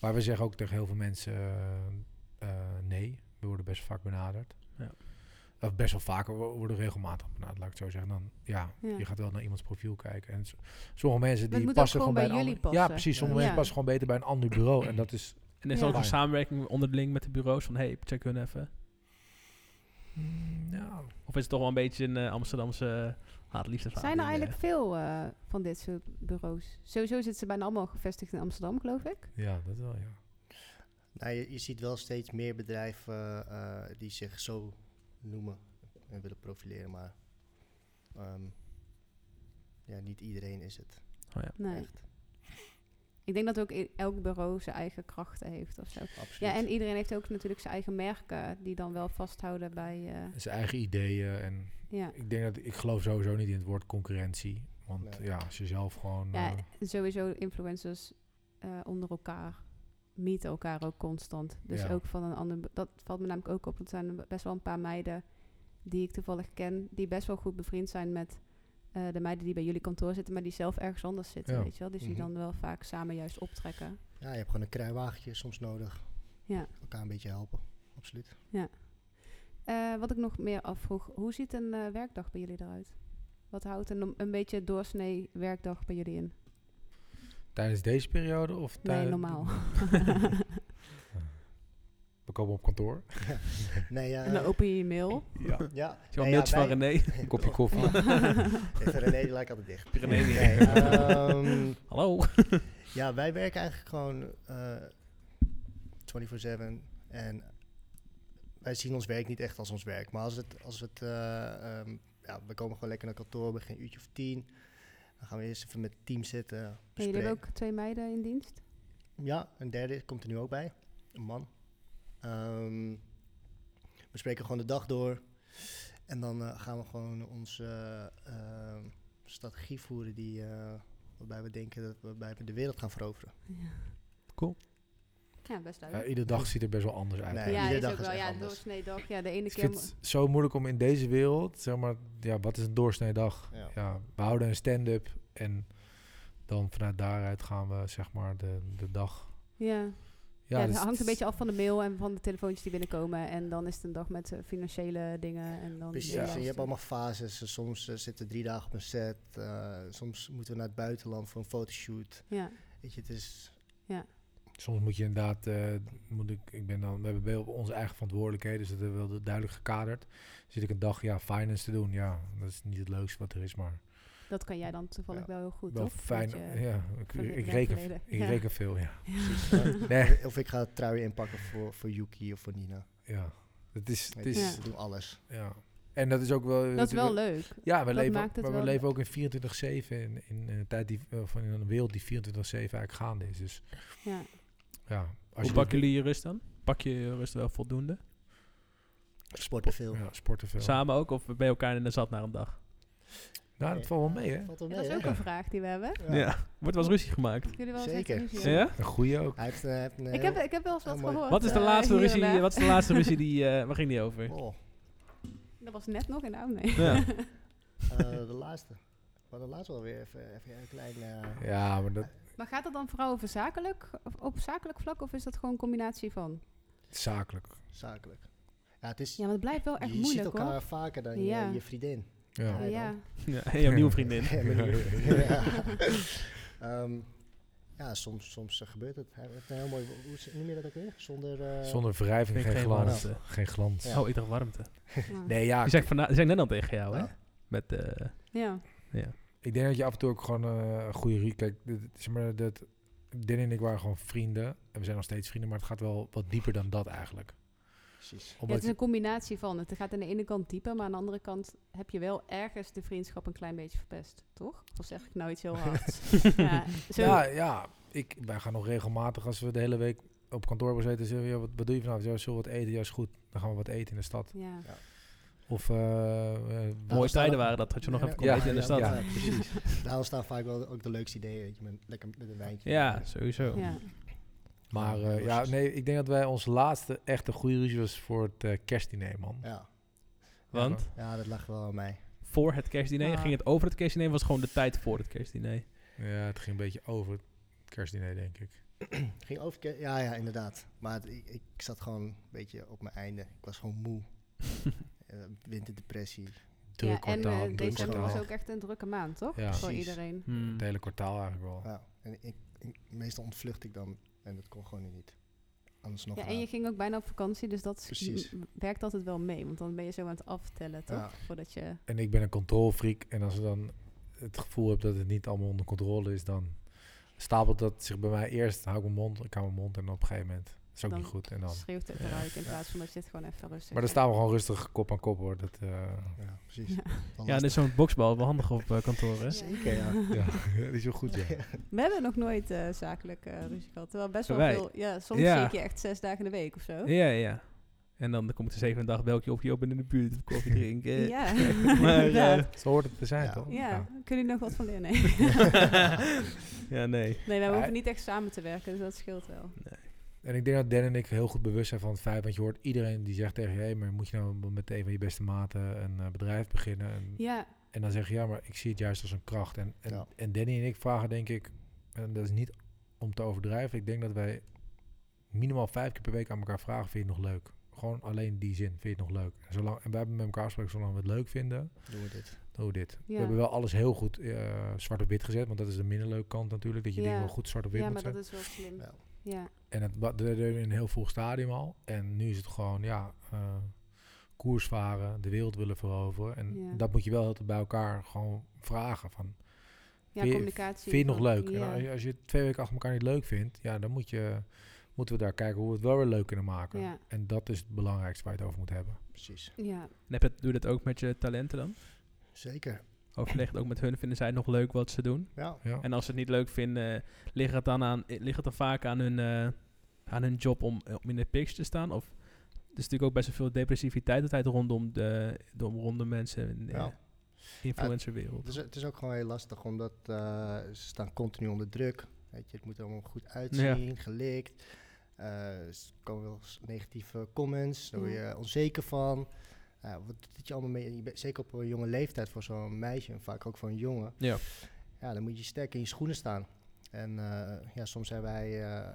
Maar we zeggen ook tegen heel veel mensen eh, eh, nee. We worden best vaak benaderd. Ja. Of best wel vaak, we worden regelmatig benaderd, laat ik het zo zeggen. Dan, ja, Ja. je gaat wel naar iemands profiel kijken. En s- sommige mensen het die moet ook passen gewoon gewoon bij, een bij jullie ander- Ja, passen. precies. Sommige Ja. mensen passen gewoon beter bij een ander bureau. En dat is... En is Ja. er ook een Fijn. samenwerking onderling met de bureaus van, hey, check hun even? mm, nou, Of is het toch wel een beetje een eh, Amsterdamse haatliefde zijn er eigenlijk veel eh, van dit soort bureaus? Sowieso zitten ze bijna allemaal gevestigd in Amsterdam, geloof ik. ja, dat wel, ja. Nou, je, je ziet wel steeds meer bedrijven eh, eh, die zich zo noemen en willen profileren, maar ehm, ja, niet iedereen is het. Nee. Echt, Ik denk dat ook i- elk bureau zijn eigen krachten heeft of zo. absoluut. Ja, en iedereen heeft ook natuurlijk zijn eigen merken die dan wel vasthouden bij... eh, Zijn eigen ideeën en... ja. Ik denk dat ik geloof sowieso niet in het woord concurrentie. Want Nee. ja, als je zelf gewoon. Ja, eh, en sowieso influencers eh, onder elkaar mieten elkaar ook constant. Dus Ja. ook van een ander. Dat valt me namelijk ook op. Er zijn best wel een paar meiden die ik toevallig ken, die best wel goed bevriend zijn met eh, de meiden die bij jullie kantoor zitten, maar die zelf ergens anders zitten, Ja. weet je wel. Dus die Mhm. dan wel vaak samen juist optrekken. Ja, je hebt gewoon een kruiwagentje soms nodig. Ja. Elkaar een beetje helpen. absoluut. Eh, wat ik nog meer afvroeg, hoe ziet een eh, werkdag bij jullie eruit? Wat houdt een, een beetje doorsnee werkdag bij jullie in? Tijdens deze periode of Nee, Eh, tij- normaal. Eh, We komen op kantoor. Nee, ja, en dan open je je mail. Ja. ja. Zo nee, mailtjes ja, van wij- René. Een kopje koffie. Even René, die lijkt altijd dicht. René die- Nee, ehm, Hallo. Ja, wij werken eigenlijk gewoon eh 24-7. En wij zien ons werk niet echt als ons werk. Maar als het, als het eh, ehm, ja, we komen gewoon lekker naar kantoor, we beginnen een uurtje of tien. Dan gaan we eerst even met het team zitten. En jullie bespreken. hebben ook twee meiden in dienst? Ja, een derde komt er nu ook bij. Een man. Ehm, we spreken gewoon de dag door. En dan eh, gaan we gewoon onze eh, ehm, strategie voeren die, eh, waarbij we denken dat waarbij we de wereld gaan veroveren. Ja. Cool. Ja, best Ja, duidelijk. iedere dag ziet er best wel anders uit. Nee, ja, iedere is dag ook is wel. echt ja, anders. doorsnee dag. Ja, de ene Ik keer... vind het zo moeilijk om in deze wereld, zeg maar, ja, wat is een doorsneedag? Ja. Ja, we houden een stand-up en dan vanuit daaruit gaan we, zeg maar, de, de dag. Ja. Ja, dus het hangt een het is- beetje af van de mail en van de telefoontjes die binnenkomen. En dan is het een dag met eh, financiële dingen. En dan Precies, Ja. en je lasten. hebt allemaal fases. Eh, Soms eh, zitten we drie dagen op een set. eh, soms moeten we naar het buitenland voor een fotoshoot. Ja, Weet je, het is... Soms moet je inderdaad, eh, moet ik, ik ben dan, we hebben wel onze eigen verantwoordelijkheden, dus dat hebben we wel duidelijk gekaderd. Zit ik een dag, ja, finance te doen, ja, dat is niet het leukste wat er is, maar dat kan jij dan toevallig Ja. wel heel goed, wel toch? fijn. Dat je- Ja, ik, van het ik, werk reken, verleden. ik Ja. reken veel, ja. precies, eh, Nee, Of ik ga truien inpakken voor, voor Yuki of voor Nina. ja. Het is, het Weet is, je, Ja. We doen alles. ja. En dat is ook wel... Dat is wel natuurlijk- leuk. Ja, we Dat leven, maakt het maar we wel leven ook in 24-7 in, in een tijd die of in een wereld die 24-7 eigenlijk gaande is. Dus Ja. ja, als Hoe pakken jullie je rust dan? Pak je je rust wel voldoende? Sporten veel. ja, sporten veel. Samen ook? Of bij elkaar in de zat na een dag? Nou, dat valt wel mee, hè? Valt wel Ja, mee, dat is hè? ook een vraag die we hebben. Ja. Wordt wel eens ruzie gemaakt. Jullie wel eens Zeker. echt ruzie Ja? hebben? Een goeie ook. Hij heeft, eh, hij heeft een, Ik heb, ik heb wel eens wat Oh, mooi. gehoord. Wat is de eh, laatste hier en ruzie? daar. Wat is de laatste ruzie die. eh, waar ging die over? Oh, Dat was net nog in de nee. Ja. eh, de laatste. Maar de laatste wel weer even, even een klein... eh, Ja, maar dat Maar gaat dat dan vooral over zakelijk, of op zakelijk vlak of is dat gewoon een combinatie van? zakelijk. zakelijk. Ja, het is... Ja, maar het blijft wel echt je ziet moeilijk elkaar hoor. vaker dan je- Ja. je, vriendin. Ja. elkaar- ja. ja. En jouw nieuwe vriendin. Ja, met die vriendin. Ja. Ehm, ja, soms, soms eh, gebeurt het. Hij heeft een heel mooi... Hoe is- noem je dat ook weer? Zonder... eh, Zonder wrijving vind geen, ik geen glans. warmte. Geen glans. Ja. Oh, ik dacht warmte. Ja. Nee, ja. Die zei, ik vana- die zei ik net al tegen jou, hè? Ja. Met. eh, Ja. Ik denk dat je af en toe ook gewoon eh, een goede... ru- Kijk, dit- dit- zeg maar, dat, Din en ik waren gewoon vrienden. En we zijn nog steeds vrienden, maar het gaat wel wat dieper dan dat eigenlijk. Precies. Ja, Omdat het is een combinatie van. Het gaat aan de ene kant dieper, maar aan de andere kant heb je wel ergens de vriendschap een klein beetje verpest, toch? Of zeg ik nou iets heel hards? ja, zo, Ja, ja ik, wij gaan nog regelmatig als we de hele week op kantoor hebben gezeten. Zeggen we, ja, wat, wat doe je vanavond? Ja, zullen we wat eten? Ja, is goed. Dan gaan we wat eten in de stad. ja. Of eh, eh, Nou, mooie we staan tijden er- waren dat. Dat je nog Ja, even kon ja, eten in de ja, stad. ja. Ja, precies. Daarom staan vaak wel ook de leukste ideeën. Weet je, met, lekker met een wijntje. sowieso. ja. maar Ah, eh, ja, nee, ik denk dat wij ons laatste echte goede ruzie was voor het eh, kerstdiner, man. Ja. Want ja, dat lag wel aan mij. voor het kerstdiner Ah. ging het over het kerstdiner, was gewoon de tijd voor het kerstdiner. Ja, het ging een beetje over het kerstdiner, denk ik. Het ging over... Ja, ja, inderdaad. Maar het- ik, ik zat gewoon een beetje op mijn einde. Ik was gewoon moe. Eh, winterdepressie. Druk ja, en kwartaal, eh, druk december was kwartaal. ook echt een drukke maand, toch? Ja. Voor Precies. iedereen. Het hele kwartaal eigenlijk wel. Ja. En ik, ik- meestal ontvlucht ik dan. En dat kon gewoon niet. Anders nog Ja, en later. je ging ook bijna op vakantie, dus dat is- Precies. m- werkt altijd wel mee. Want dan ben je zo aan het aftellen, toch? Ja. Voordat je... En ik ben een controlfreak. En als ik dan het gevoel heb dat het niet allemaal onder controle is, dan stapelt dat zich bij mij eerst. Hou ik mijn mond, ik hou mijn mond en op een gegeven moment. Dat is ook Dan niet goed. En dan. schreeuwt het Ja. eruit in plaats van dat je het gewoon even Maar rustig dan doet. staan we gewoon rustig kop aan kop hoor. Dat, eh, Ja, precies. Ja. Dan Ja, en dus- dit is lastig. zo'n boksbal wel handig op eh, kantoor, hè? Zeker, ja. ja, dat is wel goed. Ja. We hebben nog nooit eh, zakelijk eh, ruzie gehad. Terwijl best wel Wij. veel... Ja, soms Ja. zie ik je echt zes dagen in de week of zo. Ja, ja. En dan komt de zevende dag welke op je op in de buurt koffie drinken. Ja. Maar, inderdaad. eh, Zo hoort het te zijn Ja. toch? Ja, Ja. kunnen jullie nog wat van leren? Nee, ja, nee. nee wij Ja, hoeven niet echt samen te werken, dus dat scheelt wel. En ik denk dat Dan en ik heel goed bewust zijn van het feit. Want je hoort iedereen die zegt tegen je: hey, maar moet je nou met een van je beste maten een eh, bedrijf beginnen? En, Ja, en dan zeg je: ja, maar ik zie het juist als een kracht. En, en, Ja. en Danny en ik vragen, denk ik, en dat is niet om te overdrijven. Ik denk dat wij minimaal vijf keer per week aan elkaar vragen: vind je het nog leuk? Gewoon alleen die zin. Vind je het nog leuk? En, zolang, en we hebben met elkaar afgesproken, zolang we het leuk vinden, Doen we dit. doen we dit. We Ja. hebben wel alles heel goed eh, zwart op wit gezet, want dat is de minder leuke kant natuurlijk. Dat je Ja. dingen wel goed zwart op wit Ja, moet maar dat zetten. is wel slim. Ja. Ja, En het wa- dat deden we in een heel vroeg stadium al. En nu is het gewoon, ja, eh, koers varen, de wereld willen veroveren. En Ja. dat moet je wel altijd bij elkaar gewoon vragen van... ja Vind je- Vind communicatie. je het nog van- leuk? En Ja. als je- als je het twee weken achter elkaar niet leuk vindt, ja, dan moet je, moeten we daar kijken hoe we het wel weer leuk kunnen maken. Ja. En dat is het belangrijkste waar je het over moet hebben. Precies. Ja, En heb je, doe je dat ook met je talenten dan? Zeker. Overleg het ook met hun, vinden zij het nog leuk wat ze doen? Ja. Ja. En als ze het niet leuk vinden, ligt het dan, aan, eh, ligt het dan vaak aan hun, eh, aan hun job om, eh, om in de picture te staan? Of er is natuurlijk ook best wel veel depressiviteit altijd rondom, de, de rondom mensen in de Ja. eh, influencerwereld. Het is, het is ook gewoon heel lastig, omdat eh, ze staan continu onder druk. Weet je, het moet er allemaal goed uitzien, gelikt. Eh, er komen wel eens negatieve comments, daar word je Mhm. Ja. onzeker van. Eh, wat doet je allemaal mee? Je bent, zeker op een jonge leeftijd voor zo'n meisje, en vaak ook voor een jongen. Ja. Ja, dan moet je sterk in je schoenen staan. En eh, ja, soms zijn wij, eh, eh,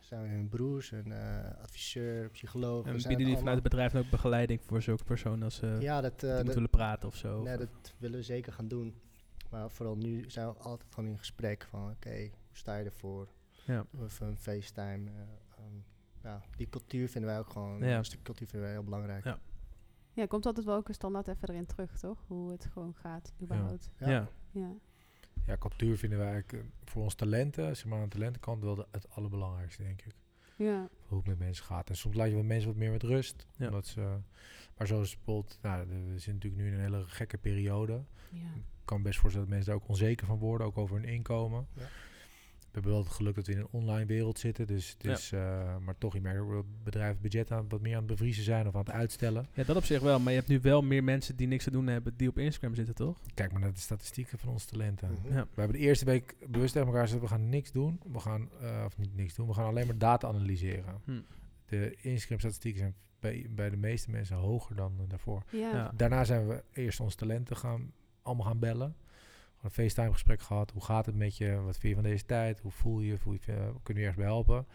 zijn wij hun broers, hun eh, adviseur, psycholoog. en we zijn bieden jullie het vanuit het allemaal- bedrijf dan ook begeleiding voor zulke personen als ze Ja, dat, eh, die dat- moeten willen praten of zo? Nee, Of- dat willen we zeker gaan doen. Maar vooral nu zijn we altijd gewoon in gesprek van oké, hoe sta je ervoor? Ja. Of een FaceTime. eh, um, ja, die cultuur vinden wij ook gewoon, Ja. een stuk cultuur vinden wij heel belangrijk. Ja. ja, komt altijd wel ook een standaard even erin terug, toch? Hoe het gewoon gaat, überhaupt. ja. Ja. Ja, ja, cultuur vinden wij eigenlijk eh, voor ons talenten, zeg maar aan de talentenkant, wel de- het allerbelangrijkste, denk ik. ja. Hoe het met mensen gaat. En soms laat je wat mensen wat meer met rust. Ja. Omdat ze, maar zoals bijvoorbeeld, nou, de- we zitten natuurlijk nu in een hele gekke periode. ja. Ik kan me best voorstellen dat mensen daar ook onzeker van worden, ook over hun inkomen. Ja. We hebben wel het geluk dat we in een online wereld zitten, dus het Ja. is, eh, maar toch, je merkt ook dat bedrijven budget aan, wat meer aan het bevriezen zijn of aan het uitstellen. dat op zich wel. Maar je hebt nu wel meer mensen die niks te doen hebben die op Instagram zitten, toch? Kijk maar naar de statistieken van onze talenten. Mhm. Ja. We hebben de eerste week bewust tegen elkaar gezegd, we gaan niks doen, we gaan, eh, of niet niks doen, we gaan alleen maar data analyseren. Hm. De Instagram-statistieken zijn bij, bij de meeste mensen hoger dan eh, daarvoor. Ja. Ja. Daarna zijn we eerst onze talenten gaan, allemaal gaan bellen. Gewoon Een FaceTime gesprek gehad. Hoe gaat het met je? Wat vind je van deze tijd? Hoe voel je? Voel je eh, kunnen we je ergens bij helpen?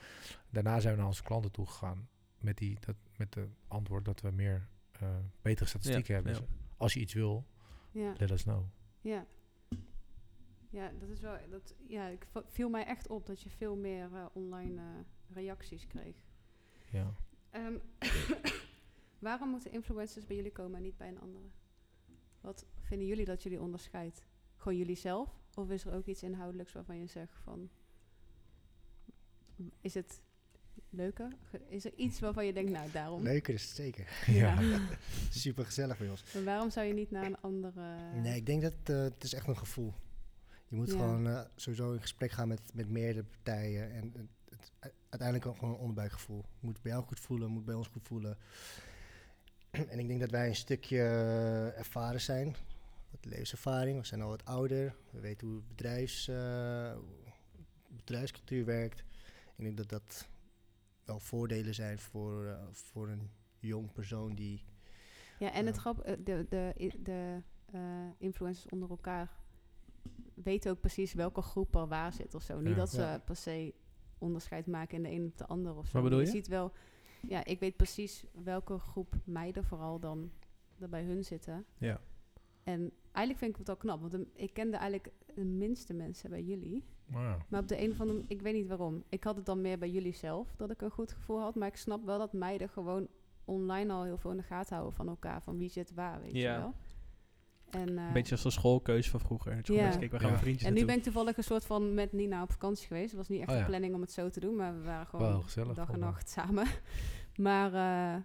Daarna zijn we naar onze klanten toe gegaan. Met, die, dat, met de antwoord dat we meer eh, betere statistieken hebben. ja. Dus als je iets wil, Ja. let us know. Ja. Ja, dat is wel. Dat, ja, ik va- viel mij echt op dat je veel meer eh, online eh, reacties kreeg. Ja. Ehm, waarom moeten influencers bij jullie komen en niet bij een andere? Wat vinden jullie dat jullie onderscheidt? Gewoon jullie zelf? Of is er ook iets inhoudelijks waarvan je zegt van. "Mm, Is het leuker? Ge- Is er iets waarvan je denkt, nou daarom. Leuker is het zeker. ja. Super gezellig bij ons. Maar waarom zou je niet naar een andere. Nee, ik denk dat eh, het is echt een gevoel. Je moet Ja. gewoon eh, sowieso in gesprek gaan met, met meerdere partijen. En het, het- u- uiteindelijk ook gewoon een onderbuikgevoel. Het moet bij jou goed voelen, het moet bij ons goed voelen. en ik denk dat wij een stukje eh, ervaren zijn. Wat levenservaring, we zijn al wat ouder. We weten hoe het bedrijfs, eh, bedrijfscultuur werkt. Ik denk dat dat wel voordelen zijn voor, eh, voor een jong persoon die... Ja, en het Ja. grap, eh, de, de, i- de eh, influencers onder elkaar weten ook precies welke groep er waar zit of zo. Ja. Niet dat ze Ja. per se onderscheid maken in de een op de ander of zo. Wat bedoel Maar je? ziet wel, ja, ik weet precies welke groep meiden vooral dan er bij hun zitten. Ja. En eigenlijk vind ik het wel knap, want de- ik kende eigenlijk de minste mensen bij jullie. Maar ja. Maar op de een of andere ik weet niet waarom. Ik had het dan meer bij jullie zelf, dat ik een goed gevoel had. Maar ik snap wel dat meiden gewoon online al heel veel in de gaten houden van elkaar. Van wie zit waar, weet Ja. je wel. En, eh, Een beetje als de schoolkeuze van vroeger. Dat je gewoon Ja. eens keek, we gaan Ja. met vriendjes en nu ben naartoe. ik toevallig een soort van met Nina op vakantie geweest. Het was niet echt Oh ja. de planning om het zo te doen, maar we waren Wel gewoon gezellig, dag en vonden we. nacht samen. Maar eh,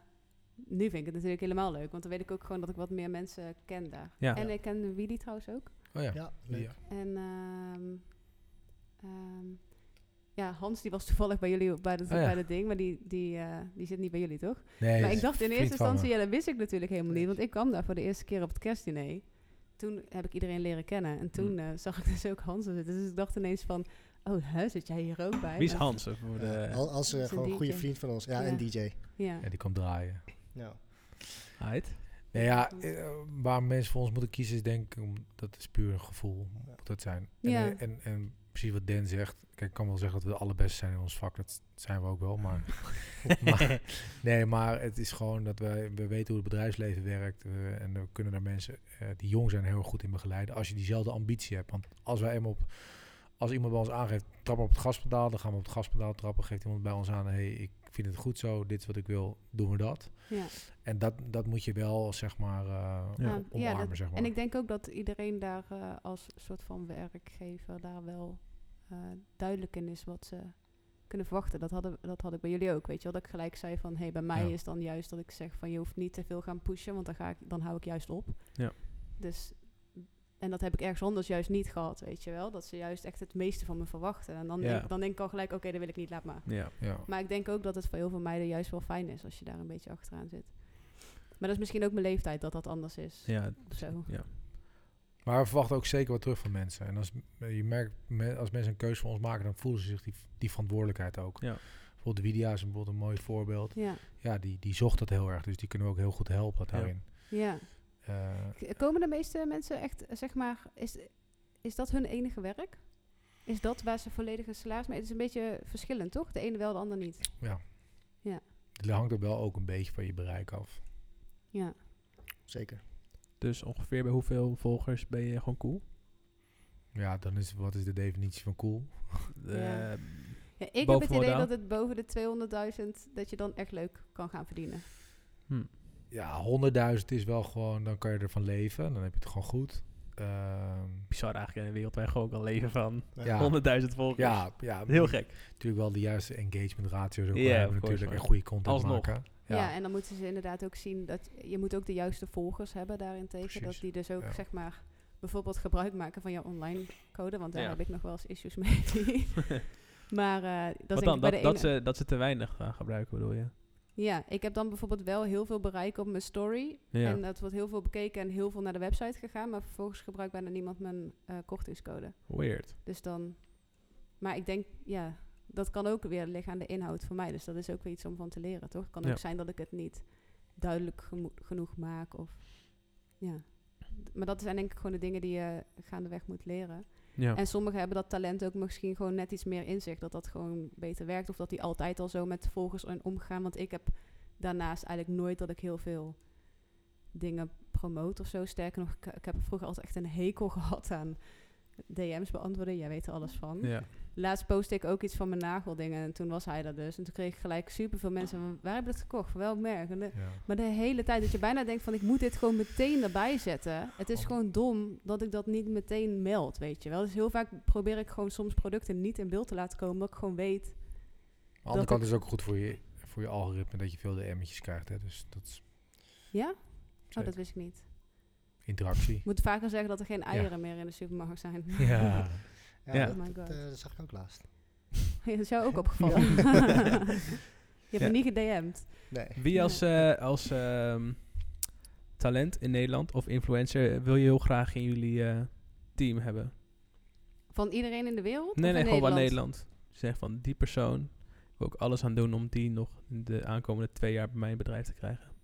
nu vind ik het natuurlijk helemaal leuk, want dan weet ik ook gewoon dat ik wat meer mensen ken daar. Ja. En ik ken Willy trouwens ook. Oh ja. Ja, ja. leuk. En ehm, ehm, ja, Hans die was toevallig bij jullie op- bij dat Oh ja. bij dat ding, maar die, die, eh, die zit niet bij jullie, toch? Nee, maar dus ik dacht in vriend eerste van me. instantie, ja, dat wist ik natuurlijk helemaal niet, want ik kwam daar voor de eerste keer op het kerstdiner. Toen heb ik iedereen leren kennen en Hmm. toen eh, zag ik dus ook Hans er zitten. Dus ik dacht ineens van, oh, hè, zit jij hier ook bij? Wie is Maar- Hans? Even voor de- Al- als eh, is een gewoon een goede DJ. vriend van ons. Ja, Ja. en DJ. Ja, Ja, die komt draaien. Ja. Heid? Nou ja, eh, waar mensen voor ons moeten kiezen is denk ik, om- dat is puur een gevoel. Moet dat zijn. En, Ja. eh, en, en precies wat Dan zegt. Kijk, ik kan wel zeggen dat we de allerbeste zijn in ons vak. Dat zijn we ook wel, maar... maar nee, maar het is gewoon dat wij... We weten hoe het bedrijfsleven werkt. we- en we kunnen daar mensen eh, die jong zijn heel erg goed in begeleiden. Als je diezelfde ambitie hebt. Want als wij eenmaal op... Als iemand bij ons aangeeft, trap op het gaspedaal. Dan gaan we op het gaspedaal trappen. Geeft iemand bij ons aan, hey, ik vind het goed zo. Dit is wat ik wil, doen we dat. Ja. En dat, dat moet je wel, zeg maar, eh, Ja. o- Ehm, Ja, omarmen, dat- zeg maar. En ik denk ook dat iedereen daar eh, als soort van werkgever daar wel eh, duidelijk in is wat ze kunnen verwachten. Dat, hadden, dat had ik bij jullie ook, weet je wel. Dat ik gelijk zei van, hey, bij mij Ja. is dan juist dat ik zeg van, je hoeft niet te veel gaan pushen, want dan, ga ik, dan hou ik juist op. Ja. Dus, en dat heb ik ergens anders juist niet gehad, weet je wel. Dat ze juist echt het meeste van me verwachten. En dan, Ja. denk, dan denk ik al gelijk, oké, dat wil ik niet, laat maar. Ja. ja. Maar ik denk ook dat het voor heel veel meiden juist wel fijn is als je daar een beetje achteraan zit. Maar dat is misschien ook mijn leeftijd dat dat anders is. Ja. Of zo. ja. Maar we verwachten ook zeker wat terug van mensen. En als je merkt, me- als mensen een keuze voor ons maken, dan voelen ze zich die, die verantwoordelijkheid ook. Ja. Bijvoorbeeld de Widia is een- bijvoorbeeld een mooi voorbeeld. Ja, Ja, die, die zocht dat heel erg. Dus die kunnen we ook heel goed helpen Ja. daarin. ja. Eh, K- Komen de meeste mensen echt, eh, zeg maar, is, is dat hun enige werk? Is dat waar ze volledige salaris mee? Het is een beetje verschillend, toch? De ene wel, de ander niet. het hangt er wel ook een beetje van je bereik af. Ja. Zeker. Dus ongeveer bij hoeveel volgers ben je gewoon cool? Ja, dan is wat is de definitie van cool? Ja. Eh, ja ik heb Boven het idee modaal. dat het boven de 200.000 dat je dan echt leuk kan gaan verdienen. Ja, 100.000 is wel gewoon, dan kan je ervan leven. Dan heb je het gewoon goed. Ehm, bizar eigenlijk in een wereld waar je gewoon kan leven van Ja. 100.000 volgers. ja, ja, Heel gek. Natuurlijk wel de juiste engagement ratio's ook Ja, hebben of course, natuurlijk. maar En goede content alsnog. maken. Ja. en dan moeten ze inderdaad ook zien dat je moet ook de juiste volgers hebben daarentegen. Precies, Dat die dus ook, ja. zeg maar, bijvoorbeeld gebruik maken van jouw online code. Want daar Ja. heb ik nog wel eens issues mee. maar eh, dat Wat is dan? bij Dat, de dat, ene- ze, dat ze te weinig gaan gebruiken, bedoel je? Ja, ik heb dan bijvoorbeeld wel heel veel bereik op mijn story. Ja. En dat wordt heel veel bekeken en heel veel naar de website gegaan. Maar vervolgens gebruikt bijna niemand mijn eh, kortingscode. Weird. Dus dan... Maar ik denk, ja, dat kan ook weer liggen aan de inhoud voor mij. Dus dat is ook weer iets om van te leren, toch? Het kan Ja. ook zijn dat ik het niet duidelijk gemo- genoeg maak of... Ja. D- Maar dat zijn denk ik gewoon de dingen die je gaandeweg moet leren. Ja. En sommigen hebben dat talent ook misschien gewoon net iets meer in zich. Dat dat gewoon beter werkt. Of dat die altijd al zo met volgers zijn omgegaan. Want ik heb daarnaast eigenlijk nooit dat ik heel veel dingen promoot of zo. Sterker nog, ik, ik heb vroeger altijd echt een hekel gehad aan DM's beantwoorden. Jij weet er alles van. ja. Laatst postte ik ook iets van mijn nageldingen. En toen was hij daar dus. En toen kreeg ik gelijk superveel mensen van... Waar heb je dat gekocht? Van welk merk? En de- Ja. maar de hele tijd dat je bijna denkt van ik moet dit gewoon meteen erbij zetten. Het is Oh. gewoon dom dat ik dat niet meteen meld, weet je wel. Dus heel vaak probeer ik gewoon soms producten niet in beeld te laten komen. Omdat ik gewoon weet, Aan de andere Dat kant is het ook goed voor je, voor je algoritme dat je veel DM'tjes krijgt. Hè? Dus dat is ja? Oh, Zeker. dat wist ik niet. interactie. Ik moet vaker zeggen dat er geen eieren meer in de supermarkt zijn. ja. Ja, Ja. Dat, Oh my dat, God. eh, dat zag ik ook laatst. dat is jou ook opgevallen. je hebt Ja. me niet gedM'd. Nee. Wie als, eh, als ehm, talent in Nederland of influencer wil je heel graag in jullie eh, team hebben? Van iedereen in de wereld? Nee, of nee, in gewoon van Nederland? Nederland. Zeg van die persoon. Ik wil ook alles aan doen om die nog in de aankomende twee jaar bij mijn bedrijf te krijgen.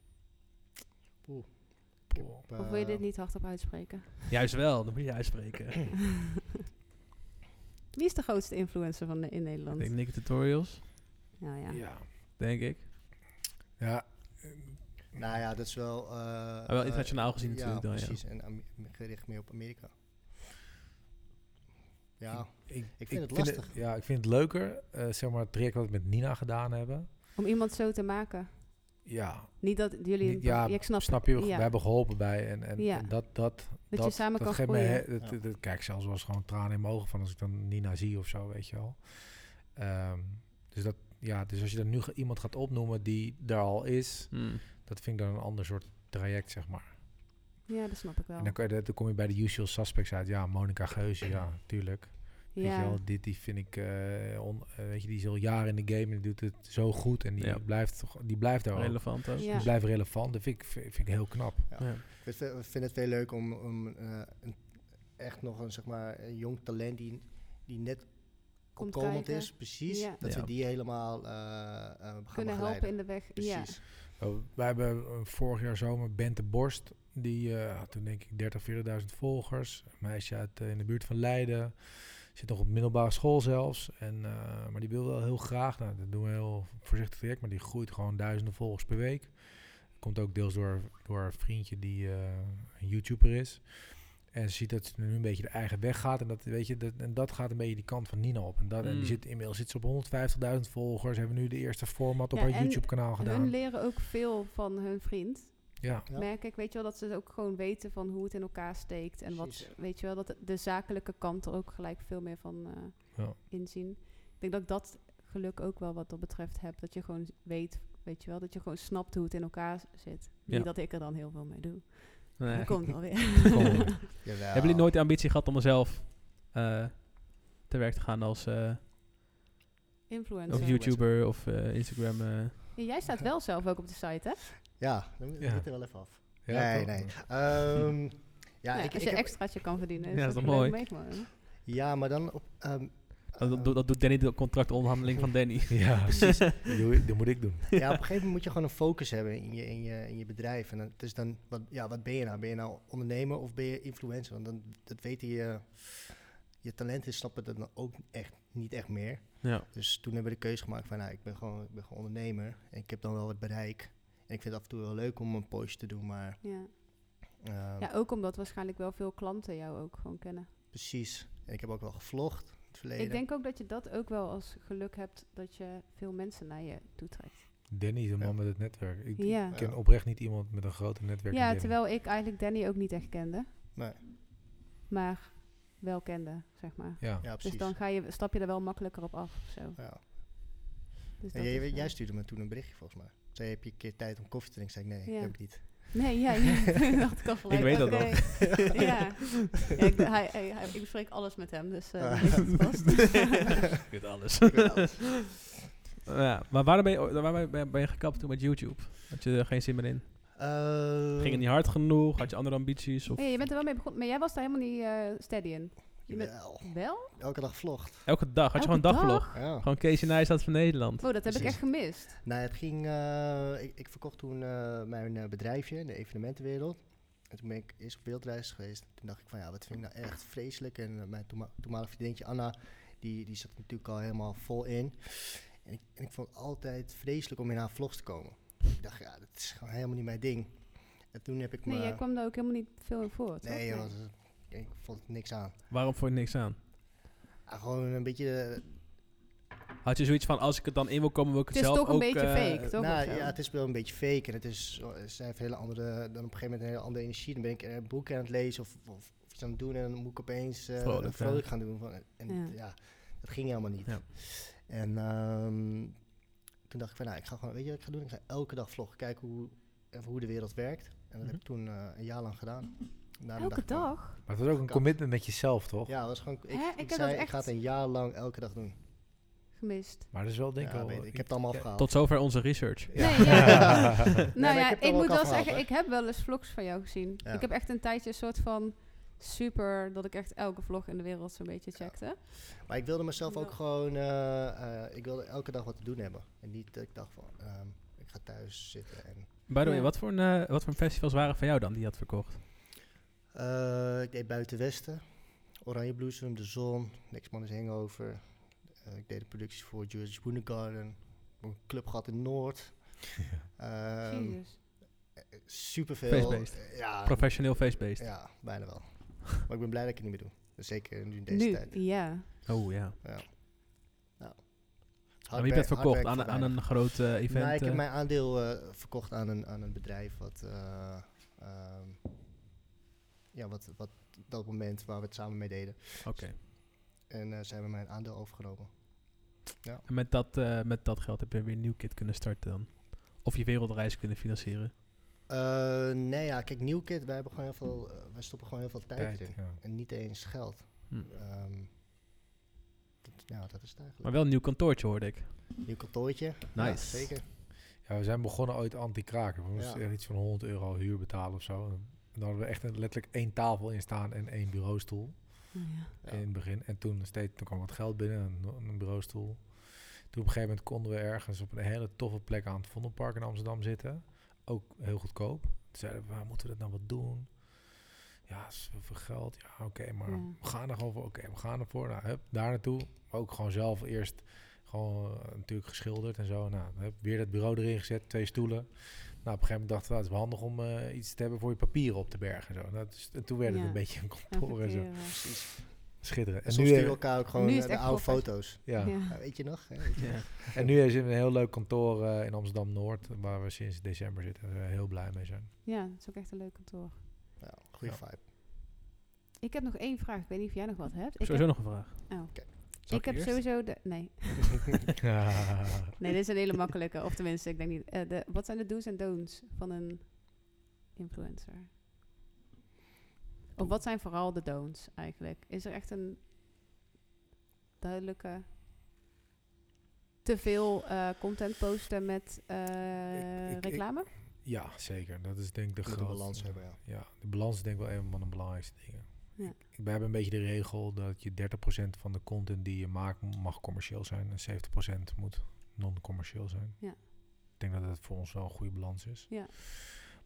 Op, Of wil je dit eh, niet hardop uitspreken? Juist wel, dat moet je uitspreken. Wie is de grootste influencer van de- in ik Nederland? denk Nick Tutorials, Nou ja. Ja. denk ik. Ja. Nou ja, dat is wel... eh, Ah, wel eh, internationaal gezien ja, natuurlijk dan, ja. precies. En Am- gericht meer op Amerika. Ja, Ik, vind het lastig. ja, ik vind het leuker. eh, zeg maar het traject wat we met Nina gedaan hebben. Om iemand zo te maken. Ja, Niet dat jullie... Niet- ja, ik snap, snap je? We ja. hebben geholpen bij. En, en, Ja. en dat, dat, Dat je samen kan geeft groeien. he- dat- Ja. dat- kijk, zelfs was gewoon tranen in mijn ogen van als ik dan Nina zie of zo, weet je wel. Ehm, dus, dat, ja, dus als je dan nu ge- iemand gaat opnoemen die daar al is, Hmm. dat vind ik dan een ander soort traject, zeg maar. Ja, dat snap ik wel. En dan, kan je, dan kom je bij de usual suspects uit. Ja, Monica Geuze, ja, tuurlijk. Weet je ja. wel, dit, die vind ik, eh, on- eh, weet je, die is al jaren in de game en die doet het zo goed. En die, Ja. blijft, toch- die blijft daar ook. Relevant ook. Ja. Die blijft relevant. Dat vind ik, vind ik heel knap. Ja. ik vind het- ik vind het veel leuk om, om eh, een- echt nog een, zeg maar, een jong talent die, die net Komt opkomend kijken. is, precies. Ja. Dat Ja. we die helemaal eh, eh, gaan kunnen begeleiden. helpen in de weg. Ja. Precies. Uh, wij hebben eh, vorig jaar zomer Bente Borst. Die eh, had toen denk ik 30.000, 40.000 volgers. Een meisje uit, eh, in de buurt van Leiden. Zit nog op middelbare school zelfs. En, eh, maar die wil wel heel graag. Nou, dat doen we heel voorzichtig traject. Maar die groeit gewoon duizenden volgers per week. Komt ook deels door, door een vriendje die eh, een YouTuber is. En ze ziet dat ze nu een beetje de eigen weg gaat. En dat, weet je, dat, en dat gaat een beetje die kant van Nina op. En, dat, en Mm. die zit, inmiddels zit ze op 150.000 volgers. Hebben nu de eerste format op Ja, haar en YouTube-kanaal Hun gedaan. leren ook veel van hun vriend. Ja, Ja. Merk ik, weet je wel, dat ze ook gewoon weten van hoe het in elkaar steekt. En wat, Precies. weet je wel, dat de- de zakelijke kant er ook gelijk veel meer van eh, Ja. inzien. Ik denk dat ik dat geluk ook wel wat dat betreft heb. Dat je gewoon weet, weet je wel, dat je gewoon snapt hoe het in elkaar z- zit. Ja. Niet dat ik er dan heel veel mee doe. Nee. Dat komt alweer. Kom. Jawel. Hebben jullie nooit de ambitie gehad om zelf eh, te werk te gaan als eh, Influencer. of YouTuber of eh, Instagram? eh? Ja, jij staat wel zelf ook op de site, hè? Ja, dan Ja. ja. er wel even af. ja nee, toch? nee. Ehm, Ja, ja, ik, als ik je heb- extraatje kan verdienen. Ja, dat is ook toch leuk mooi? meegemaakt. ja, maar dan op... ehm, dat, ehm, doet- dat doet Danny de contractonderhandeling van Danny. Ja, precies. Die doe ik- die moet ik doen. ja, op een gegeven moment moet je gewoon een focus hebben in je, in je, in je bedrijf. En dan, dus dan, wat, ja, wat ben je nou? Ben je nou ondernemer of ben je influencer? Want dan, dat weten je, je talenten snappen dat dan ook echt, niet echt meer. ja. Dus toen hebben we de keuze gemaakt van, nou, ik ben gewoon, ik ben gewoon ondernemer. En ik heb dan wel wat bereik. En ik vind het af en toe wel leuk om een postje te doen, maar Ja. ehm, ja, ook omdat waarschijnlijk wel veel klanten jou ook gewoon kennen. precies. En ik heb ook wel gevlogd in het verleden. Ik denk ook dat je dat ook wel als geluk hebt dat je veel mensen naar je toe trekt. Danny is een man Ja. met het netwerk. Ik Ja. ik ken Ja. oprecht niet iemand met een groter netwerk. dan Ja, Danny. terwijl ik eigenlijk Danny ook niet echt kende, Nee, maar wel kende, zeg maar. Ja. ja, Dus precies. dan ga je, stap je er wel makkelijker op af. of Zo. ja. Dus En dat jij, is, eh, jij stuurde me toen een berichtje, volgens mij. Zei, heb je een keer tijd om koffie te drinken? Zei ik, nee, Ja. heb ik niet. Nee, ja, ja, dat kan gelijk. weet dat oké. nog. Ja, Ja, ik, hij, hij- hij- ik bespreek alles met hem, dus eh, Ah. dan is het vast. Ik weet alles. Ik weet alles. ja, maar waarom ben je, o- waarom ben je, ben je gekapt toen met YouTube? Had je er geen zin meer in? Ehm, Ging het niet hard genoeg? Had je andere ambities? Of Hey, je bent er wel mee begonnen, maar jij was daar helemaal niet eh, steady in. Je bent- jawel. Wel? Oh, Elke dag vlogt. elke dag? Had je Elke gewoon een dagvlog? dag? Ja. Gewoon Kees en staat van Nederland. Oh, dat heb ik Precies. echt gemist. Nou, het ging. eh, ik, ik verkocht toen eh, mijn eh, bedrijfje in de evenementenwereld. En toen ben ik eerst op wereldreis geweest. Toen dacht ik van ja, wat vind ik nou echt vreselijk. En eh, mijn toema- toenmalig vriendinnetje Anna, die, die zat er natuurlijk al helemaal vol in. En ik, en ik vond het altijd vreselijk om in haar vlogs te komen. Ik dacht, ja, dat is gewoon helemaal niet mijn ding. En toen heb ik me. Nee, jij kwam daar ook helemaal niet veel in voor, toch? nee, joh, dat- ik vond het niks aan. Waarom vond je niks aan? Ah, gewoon een beetje. eh, Had je zoiets van, als ik het dan in wil komen, wil ik het, Het is zelf toch een ook, beetje eh, fake, toch? nou, Of zo? ja, het is wel een beetje fake en het is, ze heeft een hele andere, dan op een gegeven moment een hele andere energie. Dan ben ik een boek aan het lezen of, of, of iets aan het doen en dan moet ik opeens eh, Vrolijk, vrolijk, hè? gaan doen. Van, en Ja. ja. dat ging helemaal niet. Ja. En ehm, toen dacht ik van, nou, ik ga gewoon, weet je wat ik ga doen? Ik ga elke dag vloggen, kijken hoe, even hoe de wereld werkt. En dat heb ik toen eh, een jaar lang gedaan. Daarna dacht Elke ik van- dag? Maar het was ook een Kan. commitment met jezelf, toch? Ja, dat was gewoon, ik, Hè, ik, ik heb dat zei, ik echt- ga het een jaar lang elke dag doen. Gemist. Maar dat is wel denk ik Ja, wel- weet ik, ik heb het allemaal ja, afgehaald. Tot zover onze research. Nee, ja. maar nou ik ja, heb ik, er wel moet kaf wel gehad, zeggen, hè? ik heb wel eens vlogs van jou gezien. Ja. Ik heb echt een tijdje een soort van super, dat ik echt elke vlog in de wereld zo'n beetje checkte. Maar ik wilde mezelf ook Ja. gewoon, eh, eh, ik wilde elke dag wat te doen hebben. En niet dat ik dacht van, ehm, ik ga thuis zitten. En, By the way, Ja. wat voor, een, eh, wat voor festivals waren van jou dan die je had verkocht? Eh, ik deed Buitenwesten, Oranje Bloesem, De Zon, Next Man is Hangover. Eh, ik deed de producties voor Jewish Garden. Een club gehad in Noord. Ehm Jezus. superveel. Feestbeest. Eh, ja, Professioneel feestbeest. ja, bijna wel. maar ik ben blij dat ik het niet meer doe. Dus Zeker nu in deze Nu, tijd. ja. Oh ja. Hard Maar wie wer- hard werd verkocht? werk Aan, voor aan weinig. een groot eh, event? Nou, ik heb eh? mijn aandeel eh, verkocht aan een, aan een bedrijf wat, eh, ehm, ja, wat, wat dat moment waar we het samen mee deden. Oké. En eh, zij hebben mijn aandeel overgenomen. En met dat, eh, met dat geld heb je weer een nieuw kit kunnen starten dan? Of je wereldreis kunnen financieren? Eh, nee, ja, kijk, New Kid, wij, hebben gewoon heel veel, eh, wij stoppen gewoon heel veel tijd, tijd, erin. ja. En niet eens geld. Hm. Ehm, dat, nou, dat is het eigenlijk. Maar wel een nieuw kantoortje hoorde ik. Nieuw kantoortje. Nice. Ja, zeker. Ja, we zijn begonnen ooit anti-kraken. We moesten Ja. echt iets van 100 euro huur betalen of zo. En dan hadden we echt een, letterlijk één tafel in staan en één bureaustoel Ja. Ja. in het begin. En toen, steeds, toen kwam wat geld binnen, een, een bureaustoel. Toen op een gegeven moment konden we ergens op een hele toffe plek aan het Vondelpark in Amsterdam zitten. Ook heel goedkoop. Toen zeiden we, waar moeten we dat nou wat doen? Ja, Ja, zoveel geld. Ja, oké, maar Ja. we gaan er gewoon voor. Oké, we gaan ervoor. Nou, hup, daar naartoe. Ook gewoon zelf eerst gewoon eh, natuurlijk geschilderd en zo. Nou, hup, weer dat bureau erin gezet, twee stoelen. Nou, op een gegeven moment dacht ik, nou, het is wel handig om eh, iets te hebben voor je papieren op te bergen. En, zo. Nou, dus, en toen werd het Ja. een beetje een En kantoor en zo. verteren. Schitterend. En En soms nu, sturen we eh, elkaar ook gewoon Nu is eh, het de echt oude wel foto's. ja. Ja, weet je nog? Hè? Weet je nog? En nu is het een heel leuk kantoor eh, in Amsterdam-Noord, waar we sinds december zitten. Daar zijn we heel blij mee zijn. Ja, dat is ook echt een leuk kantoor. Ja, goede vibe. Ik heb nog één vraag. Ik weet niet of jij nog wat hebt. Ik Sowieso heb, nog een vraag. Oh. Oké. Zal ik heb eerst? sowieso de. Nee. nee, dit is een hele makkelijke. Of tenminste, ik denk niet. eh, de, wat zijn de do's en don'ts van een influencer? Of wat zijn vooral de don'ts eigenlijk? Is er echt een duidelijke. Te veel eh, content posten met eh, Ik- ik- ik- reclame? ja, zeker. Dat is denk ik de De goede grootste. balans hebben, ja. Ja, de balans is denk ik wel een van de belangrijkste dingen. Ja. Ik- We hebben een beetje de regel dat je 30% van de content die je maakt m- mag commercieel zijn en 70% moet non-commercieel zijn. Ja. Ik denk dat dat voor ons wel een goede balans is. Ja.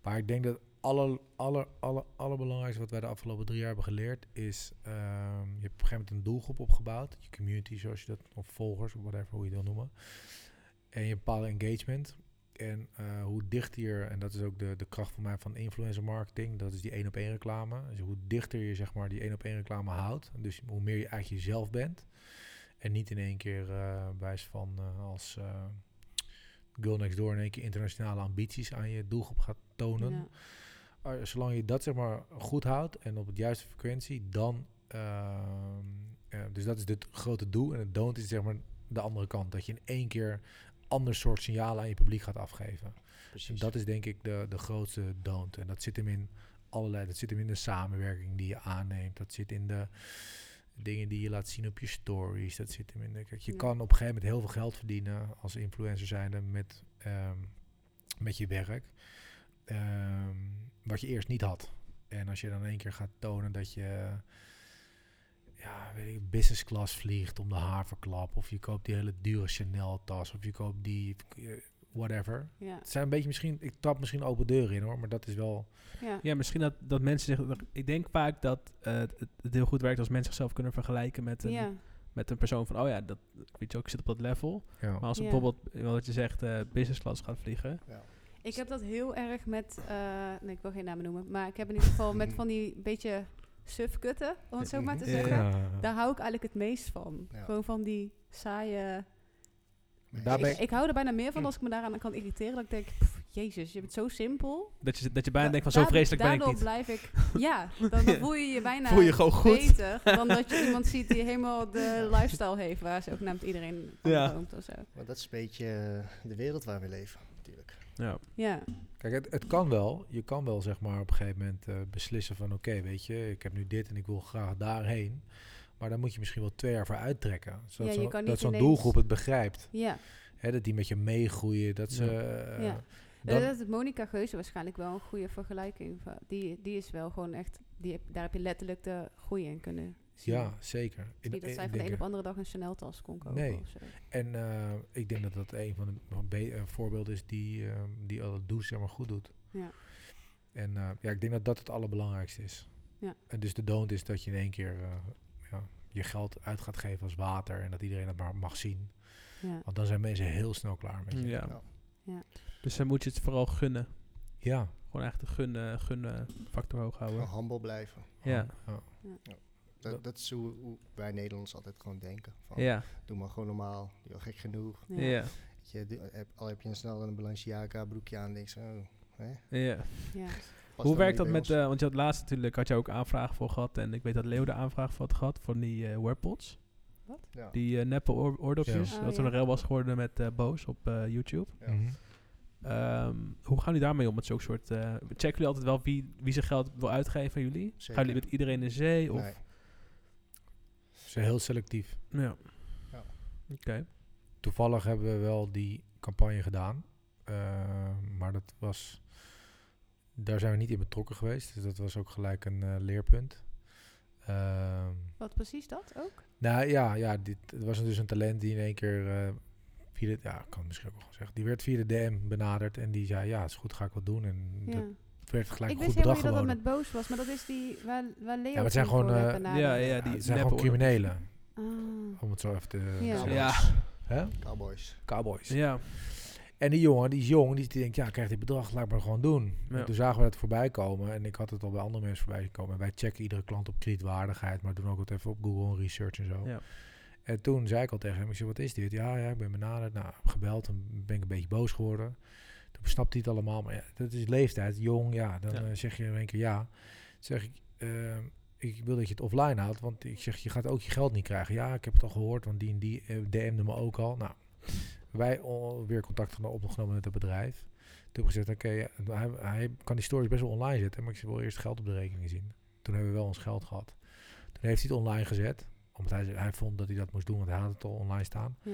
Maar ik denk dat aller, aller, aller, allerbelangrijkste wat wij de afgelopen drie jaar hebben geleerd is, ehm, je hebt op een gegeven moment een doelgroep opgebouwd, je community zoals je dat, of volgers, of whatever hoe je het wil noemen. En je bepaalde engagement. En eh, hoe dichter, en dat is ook de, de kracht voor mij van influencer marketing, dat is die één op één reclame. Dus hoe dichter je zeg maar die één op één reclame houdt, dus hoe meer je eigenlijk jezelf bent. En niet in één keer eh wijs van eh, als eh Girl Next Door in één keer internationale ambities aan je doelgroep gaat tonen. Ja. Eh, zolang je dat zeg maar goed houdt en op het juiste frequentie, dan. ehm, eh, dus dat is het grote doel. En het don't is zeg maar de andere kant. Dat je in één keer ander soort signalen aan je publiek gaat afgeven. Precies. En dat is denk ik de, de grootste don't. En dat zit hem in allerlei. Dat zit hem in de samenwerking die je aanneemt. Dat zit in de dingen die je laat zien op je stories. Dat zit hem in de. Kijk, je Ja. kan op een gegeven moment heel veel geld verdienen als influencer zijnde met, ehm, met je werk. Ehm, wat je eerst niet had. En als je dan in één keer gaat tonen dat je ja, weet ik, business class vliegt om de haverklap. Of je koopt die hele dure Chanel tas. Of je koopt die eh, whatever. Ja. Het zijn een beetje misschien, ik trap misschien open deuren in hoor, maar dat is wel. Ja. Ja, misschien dat, dat mensen zich... Ik denk vaak dat eh, het, het heel goed werkt als mensen zichzelf kunnen vergelijken met een, ja. met een persoon van... Oh ja, dat, weet je ook, ik zit op dat level. Ja. Maar als er Ja. bijvoorbeeld, eh, wat je zegt, eh, business class gaat vliegen. Ja. Ik heb dat heel erg met, eh, nee, ik wil geen namen noemen, maar ik heb in ieder geval met van die beetje sufkutten, om het zo maar te Eh, Ja, ja, zeggen. Ja. eh, Daar hou ik eigenlijk het meest van. Ja. Gewoon van die saaie... Maar Daar ik- ben Mm. Ik, ik hou er bijna meer van als ik me daaraan kan irriteren. Dat ik denk, "Pff, jezus, je bent zo simpel. Dat je, dat je bijna Da- denkt van, zo daardoor- vreselijk ben ik daardoor niet. blijf ik... Ja, dan, dan voel je je bijna Voel je gewoon goed. beter dan dat je iemand ziet die helemaal de lifestyle heeft... waar ze ook namens iedereen van Ja. droomt of zo. Maar dat is een beetje eh, de wereld waar we leven, natuurlijk. Ja. Ja, Kijk, het, het kan wel. Je kan wel zeg maar op een gegeven moment eh, beslissen van oké, weet je, ik heb nu dit en ik wil graag daarheen. Maar dan moet je misschien wel twee jaar voor uittrekken. Zodat Ja, je zo'n- kan niet dat zo'n ineens- doelgroep het begrijpt. ja. Hè, dat die met je meegroeien. Dat ze. Ja. eh, Ja. dan- dat is Monica Geuze waarschijnlijk wel een goede vergelijking. va- Die, die is wel gewoon echt, die, heb- daar heb je letterlijk de groei in kunnen zien. ja, zeker. Ik- Niet dat ik zij van denk de een er- op andere dag een Chanel-tas kon kopen. Nee. of zo. En eh, ik denk dat dat een van de van be- eh, voorbeelden is die, eh, die alle doet, zeg maar goed doet. Ja. En eh, ja, ik denk dat dat het allerbelangrijkste is. Ja. En dus de don't is dat je in één keer eh, ja, je geld uit gaat geven als water en dat iedereen dat maar mag zien. Ja. Want dan zijn mensen heel snel klaar met je. Ja. Ja. Dus dan moet je het vooral gunnen. Ja. Gewoon echt de gunnen, gunnen factor hoog houden. Gewoon humble blijven. Ja. Ja. Dat, dat is hoe, hoe wij Nederlanders altijd gewoon denken. Van, Ja. Doe maar gewoon normaal. Joh, gek genoeg. Ja. Ja. Weet Je, doe- heb- al heb je een snel een Balenciaga broekje aan, denk je, zo, oh, ja. Ja. past Hoe dan werkt niet dat bij met, ons. eh, want je had laatst natuurlijk, had je ook aanvraag voor gehad. En ik weet dat Leo de aanvraag voor had gehad, voor die eh, Wearpods. Ja. Die eh, neppe oor- oordopjes. Ja. Dat Oh, er een ja. rel was geworden met eh, Boos op eh, YouTube. Ja. Mhm. Ehm, hoe gaan jullie daarmee om met zulke soort... eh, checken jullie altijd wel wie, wie zijn geld wil uitgeven aan jullie? Zeker. Gaan jullie met iedereen in zee? Of, Nee. Ze heel selectief. Ja. Ja. Oké. Toevallig hebben we wel die campagne gedaan. eh, maar dat was. Daar zijn we niet in betrokken geweest. Dus dat was ook gelijk een eh, leerpunt. Ehm Wat precies dat ook? Nou ja, ja dit, het was dus een talent die in één keer. eh, via de, ja, ik kan het misschien ook wel gewoon zeggen. Die werd via de DM benaderd en die zei: Ja, is goed, ga ik wat doen. En Ja. dat werd gelijk ik goed bedrag wist helemaal niet dat dat geboden. met boos was, maar dat is die waar, waar Leo maar het zijn toen voor gewoon, werd eh, benaderd. Ja, ja, Ja, die het zijn gewoon neppe oorlog. criminelen, Ah. om het zo even te Ja. zeggen. Ja, Hè? Cowboys. Cowboys. ja. En die jongen, die is jong, die, die denkt, ja, ik krijg dit bedrag, laat maar gewoon doen. Ja. En toen zagen we dat voorbij komen en ik had het al bij andere mensen voorbij komen. En wij checken iedere klant op kredietwaardigheid, maar doen ook wat even op Google en research en zo. Ja. En toen zei ik al tegen hem, ik zei, wat is dit? Ja, ja, ik ben benaderd. Nou, heb gebeld en ben ik een beetje boos geworden. Toen snapt hij het allemaal, maar ja, dat is leeftijd, jong, ja. Dan Ja. eh, zeg je in één keer ja. Toen zeg ik, ehm, ik wil dat je het offline houdt, want ik zeg, je gaat ook je geld niet krijgen. Ja, ik heb het al gehoord, want die en die eh, DM'de me ook al. Nou, wij al weer contact geno- opgenomen met het bedrijf. Toen heb ik gezegd, oké, ja, hij, hij kan die stories best wel online zetten, maar ik wil eerst geld op de rekening zien. Toen hebben we wel ons geld gehad. Toen heeft hij het online gezet, omdat hij, hij vond dat hij dat moest doen, want hij had het al online staan. Ja.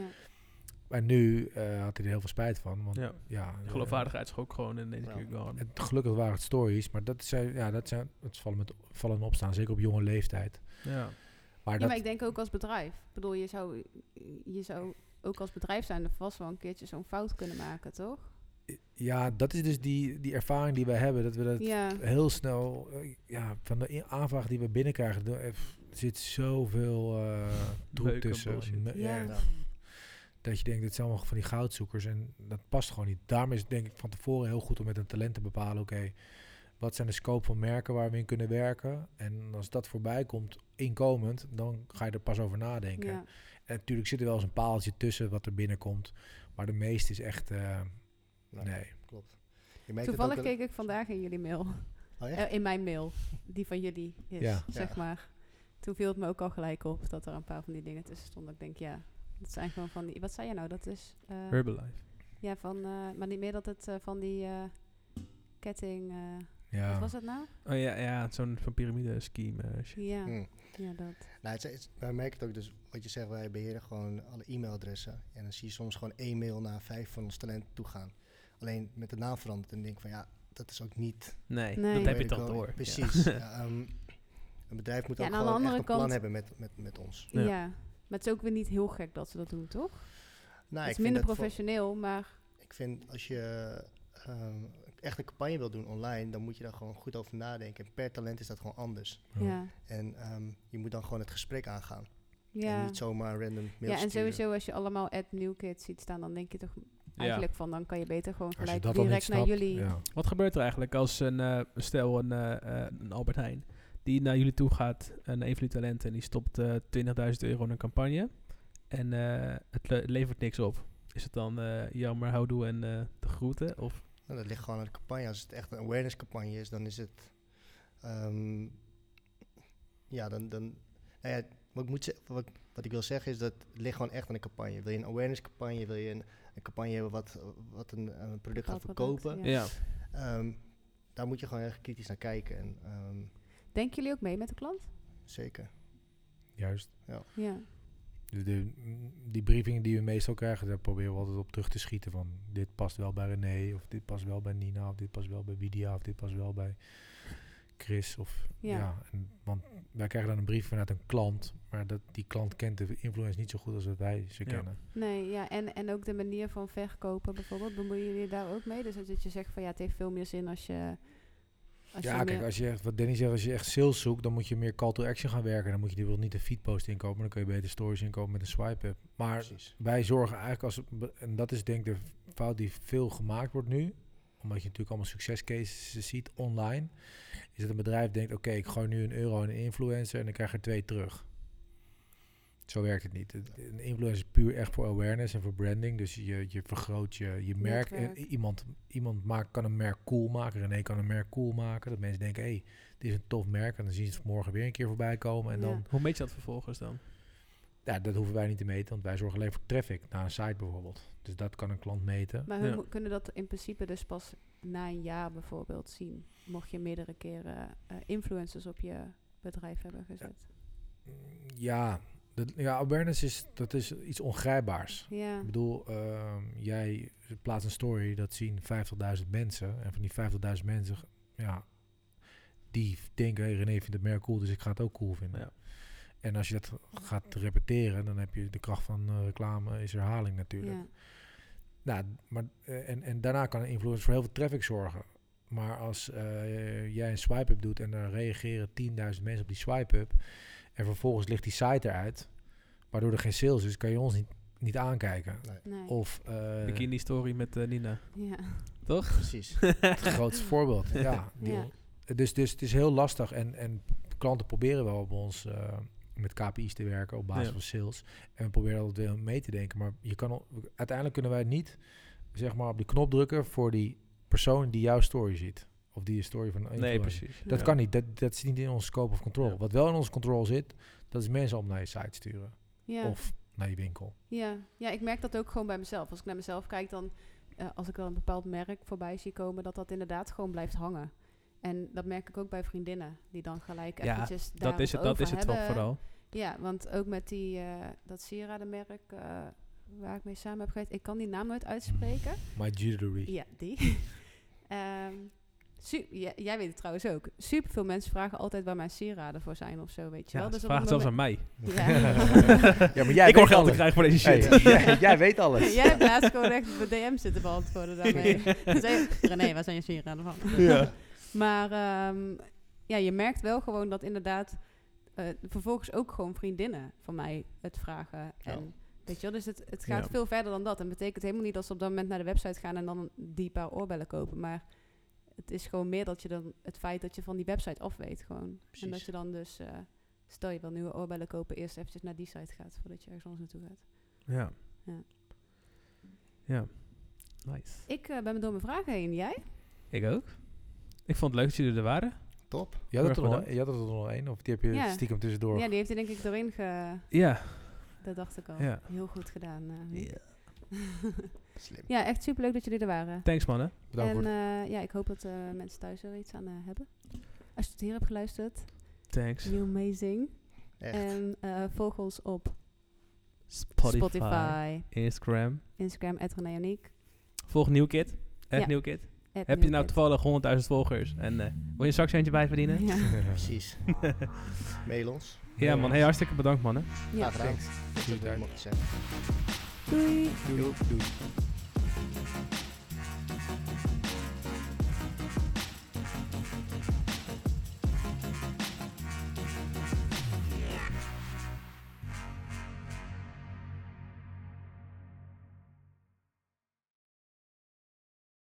En nu eh, had hij er heel veel spijt van, want ja, eh, ja. De Geloofwaardigheid is ook gewoon in deze Ja. keer gewoon. het, gelukkig waren het stories, maar dat zijn, ja, dat zijn, het vallen, met, vallen en opstaan, zeker op jonge leeftijd. Ja. Maar Ja, dat, maar ik denk ook als bedrijf. Ik bedoel, je zou, je zou ook als bedrijf zijn er vast wel een keertje zo'n fout kunnen maken, toch? ja, dat is dus die, die ervaring die wij hebben, dat we dat ja. heel snel, eh, ja, van de i- aanvraag die we binnenkrijgen, do- eh, f- zit zoveel eh troep Beuken, tussen. bullshit. Me- ja, Ja. Dat je denkt, dit zijn allemaal van die goudzoekers en dat past gewoon niet. Daarom is het denk ik van tevoren heel goed om met een talent te bepalen, oké, wat zijn de scope van merken waar we in kunnen werken? En als dat voorbij komt, inkomend, dan ga je er pas over nadenken. Ja. En natuurlijk zit er wel eens een paaltje tussen wat er binnenkomt, maar de meeste is echt, eh, Ja, nee. Klopt. Je merkt het Toevallig ook wel- keek ik vandaag in jullie mail. Oh, echt? Eh, in mijn mail. Die van jullie is, Ja. zeg Ja. maar. Toen viel het me ook al gelijk op dat er een paar van die dingen tussen stonden. Ik denk, ja, dat zijn gewoon van die... Wat zei je nou? Dat is... eh, Herbalife. ja, van... eh, maar niet meer dat het eh, van die eh, ketting... eh, Wat Ja. was het nou? Oh ja, ja zo'n zo'n piramide scheme eh, shit. Ja, Hmm. Hm. ja dat. Nou, het, is- het, wij merken het ook dus, wat je zegt, wij beheren gewoon alle e-mailadressen. En dan zie je soms gewoon één mail naar vijf van ons talent toegaan. Alleen met de naam veranderd en denk van ja, dat is ook niet... Nee, Nee. dat heb je Weet ik toch wel, door. Precies. Ja, ehm, een bedrijf moet Ja, ook en aan de gewoon echt andere een plan kant- hebben met, met, met ons. Ja. Ja. Maar het is ook weer niet heel gek dat ze dat doen, toch? het Nou, is vind minder dat voor- professioneel, maar Ik vind als je ehm, echt een campagne wil doen online, dan moet je daar gewoon goed over nadenken. En per talent is dat gewoon anders. Ja. ja. En ehm, je moet dan gewoon het gesprek aangaan. En Ja, niet zomaar random mails ja en sturen. sowieso als je allemaal at New Kids ziet staan, dan denk je toch Ja. eigenlijk van... dan kan je beter gewoon Als je gelijk dat dan niet direct naar snapt, jullie... ja. Wat gebeurt er eigenlijk als een, eh, stel een, eh, eh, een Albert Heijn, die naar jullie toe gaat, en een van jullie talenten, en die stopt eh, 20.000 euro in een campagne, en eh, het le- levert niks op. Is het dan eh, jammer, houdoe en eh, de groeten? Of, Nou, dat ligt gewoon aan de campagne. Als het echt een awareness campagne is, dan is het... ehm, ja, dan... dan nou ja, wat, ik moet ze- wat, ik- wat ik wil zeggen is dat het ligt gewoon echt aan de campagne. Wil je een awareness campagne? Wil je een, een campagne hebben wat, wat een, een product gaat Bepaald product, verkopen? Ja. ja. Ehm, daar moet je gewoon echt kritisch naar kijken. En, ehm, Denken jullie ook mee met de klant? zeker. Juist. Ja. De, Dus de- die briefingen die we meestal krijgen, daar proberen we altijd op terug te schieten. Van dit past wel bij René, of dit past wel bij Nina, of dit past wel bij Widia, of dit past wel bij Chris. Of, ja. Ja. en- want wij krijgen dan een brief vanuit een klant, maar dat, die klant kent de influence niet zo goed als dat wij ze Ja. kennen. Nee, ja. En, en ook de manier van verkopen bijvoorbeeld, bemoeien jullie daar ook mee? Dus dat je zegt van ja, het heeft veel meer zin als je... Als ja, je kijk, meer- als je echt, wat Danny zegt, als je echt sales zoekt, dan moet je meer call to action gaan werken. Dan moet je bijvoorbeeld niet een feedpost inkopen, maar dan kun je beter stories inkopen met een swipe app. Maar Precies. wij zorgen eigenlijk als, en dat is denk ik de fout die veel gemaakt wordt nu, omdat je natuurlijk allemaal succescases ziet online, is dat een bedrijf denkt, oké, ik gooi nu een euro in een influencer en dan krijg ik er twee terug. Zo werkt het niet. Het- Een influencer is puur echt voor awareness en voor branding. Dus je, je vergroot je, je merk. En Netwerk. Iemand, iemand maakt, kan een merk cool maken. René kan een merk cool maken. Dat mensen denken, hé, hey, dit is een tof merk. En dan zien ze het morgen weer een keer voorbij komen. En Ja. dan Hoe meet je dat vervolgens dan? ja, dat hoeven wij niet te meten, want wij zorgen alleen voor traffic naar een site bijvoorbeeld. Dus dat kan een klant meten. Maar we Ja. mo- kunnen dat in principe dus pas na een jaar bijvoorbeeld zien. Mocht je meerdere keren eh, influencers op je bedrijf hebben gezet. Ja, dat, ja awareness is, dat is iets ongrijpbaars. Ja. Ik bedoel, ehm, jij plaatst een story, dat zien 50.000 mensen. En van die 50.000 mensen, ja, die denken, hey, René vindt het merk cool, dus ik ga het ook cool vinden. Ja. En als je dat gaat repeteren, dan heb je de kracht van eh, reclame is herhaling natuurlijk. Ja. Nou, maar, eh, en, en daarna kan een influencer voor heel veel traffic zorgen. Maar als eh, jij een swipe-up doet en daar reageren 10.000 mensen op die swipe-up. En vervolgens ligt die site eruit. Waardoor er geen sales is, kan je ons niet, niet aankijken. Nee. Of eh, Bikini story met eh, Nina. Ja. Precies. het grootste voorbeeld. Ja, die- Ja. Dus, dus het is heel lastig. En, en klanten proberen wel op ons eh, met KPI's te werken op basis Ja. van sales. En we proberen altijd wel mee te denken. Maar je kan, al- uiteindelijk kunnen wij niet zeg maar, op de knop drukken voor die persoon die jouw story ziet. Of die een story van een Nee, influencer. precies. Dat Ja. kan niet. Dat, dat zit niet in onze scope of control. Ja. Wat wel in onze control zit, dat is mensen om naar je site sturen. Ja. Of naar je winkel. Ja. ja, ik merk dat ook gewoon bij mezelf. Als ik naar mezelf kijk, dan eh, als ik dan een bepaald merk voorbij zie komen, dat dat inderdaad gewoon blijft hangen. En dat merk ik ook bij vriendinnen, die dan gelijk Ja, eventjes daar Dat is het, dat over is het wel hebben. vooral. Ja, want ook met die, eh, dat sieradenmerk eh, waar ik mee samen heb gewerkt, ik kan die naam nooit uitspreken. My jewelry. Ja, die. Ehm, su- ja, jij weet het trouwens ook. Super veel mensen vragen altijd waar mijn sieraden voor zijn of zo, weet je Ja, wel. Dus ze op vragen het het zelfs moment- aan mij. Ja. Ja, maar jij weet ik hoor geld te alles. krijgen voor deze Hey, shit. jij, jij weet alles. Jij hebt laatst gewoon echt op de DM zitten beantwoorden daarmee. Dan zei je, René, waar zijn je sieraden van? Ja. Maar ehm, ja, je merkt wel gewoon dat inderdaad eh, vervolgens ook gewoon vriendinnen van mij het vragen. En, Weet je wel, dus het, het gaat Ja. veel verder dan dat. En betekent helemaal niet dat ze op dat moment naar de website gaan en dan die paar oorbellen kopen. Maar het is gewoon meer dat je dan het feit dat je van die website af weet gewoon. En dat Precies. je dan dus, eh, stel je wil nieuwe oorbellen kopen, eerst eventjes naar die site gaat voordat je ergens anders naartoe gaat. Ja. Ja. Ja. Nice. Ik eh, ben door mijn vragen heen. Jij? Ik ook. Ik vond het leuk dat jullie er waren. Top. Je had, Erg het er nog, bedankt. je had er nog één, of die heb je Ja. stiekem tussendoor. Ja, die heeft hij denk ik doorheen ge... Ja. Dat dacht ik al. Ja. Heel goed gedaan. eh. Slim. ja, echt superleuk dat jullie er waren. Thanks mannen. Bedankt voor en het eh, ja, ik hoop dat eh, mensen thuis er iets aan eh, hebben. Als je tot hier hebt geluisterd, Thanks. you amazing. Echt. En eh, volg ons op Spotify. Spotify, Instagram. Instagram, @reneoniek. Volg Nieuwkit. Echt Ja. Nieuwkit. Heb je nou toevallig 100.000 volgers en eh, wil je een zakcentje bij verdienen? Ja, Precies. Mail ons. man. Hey, hartstikke bedankt mannen. Ja. Graag gedaan. Thanks. Dat is wat ik Doei. mocht zeggen. Doei. Doei. Doei.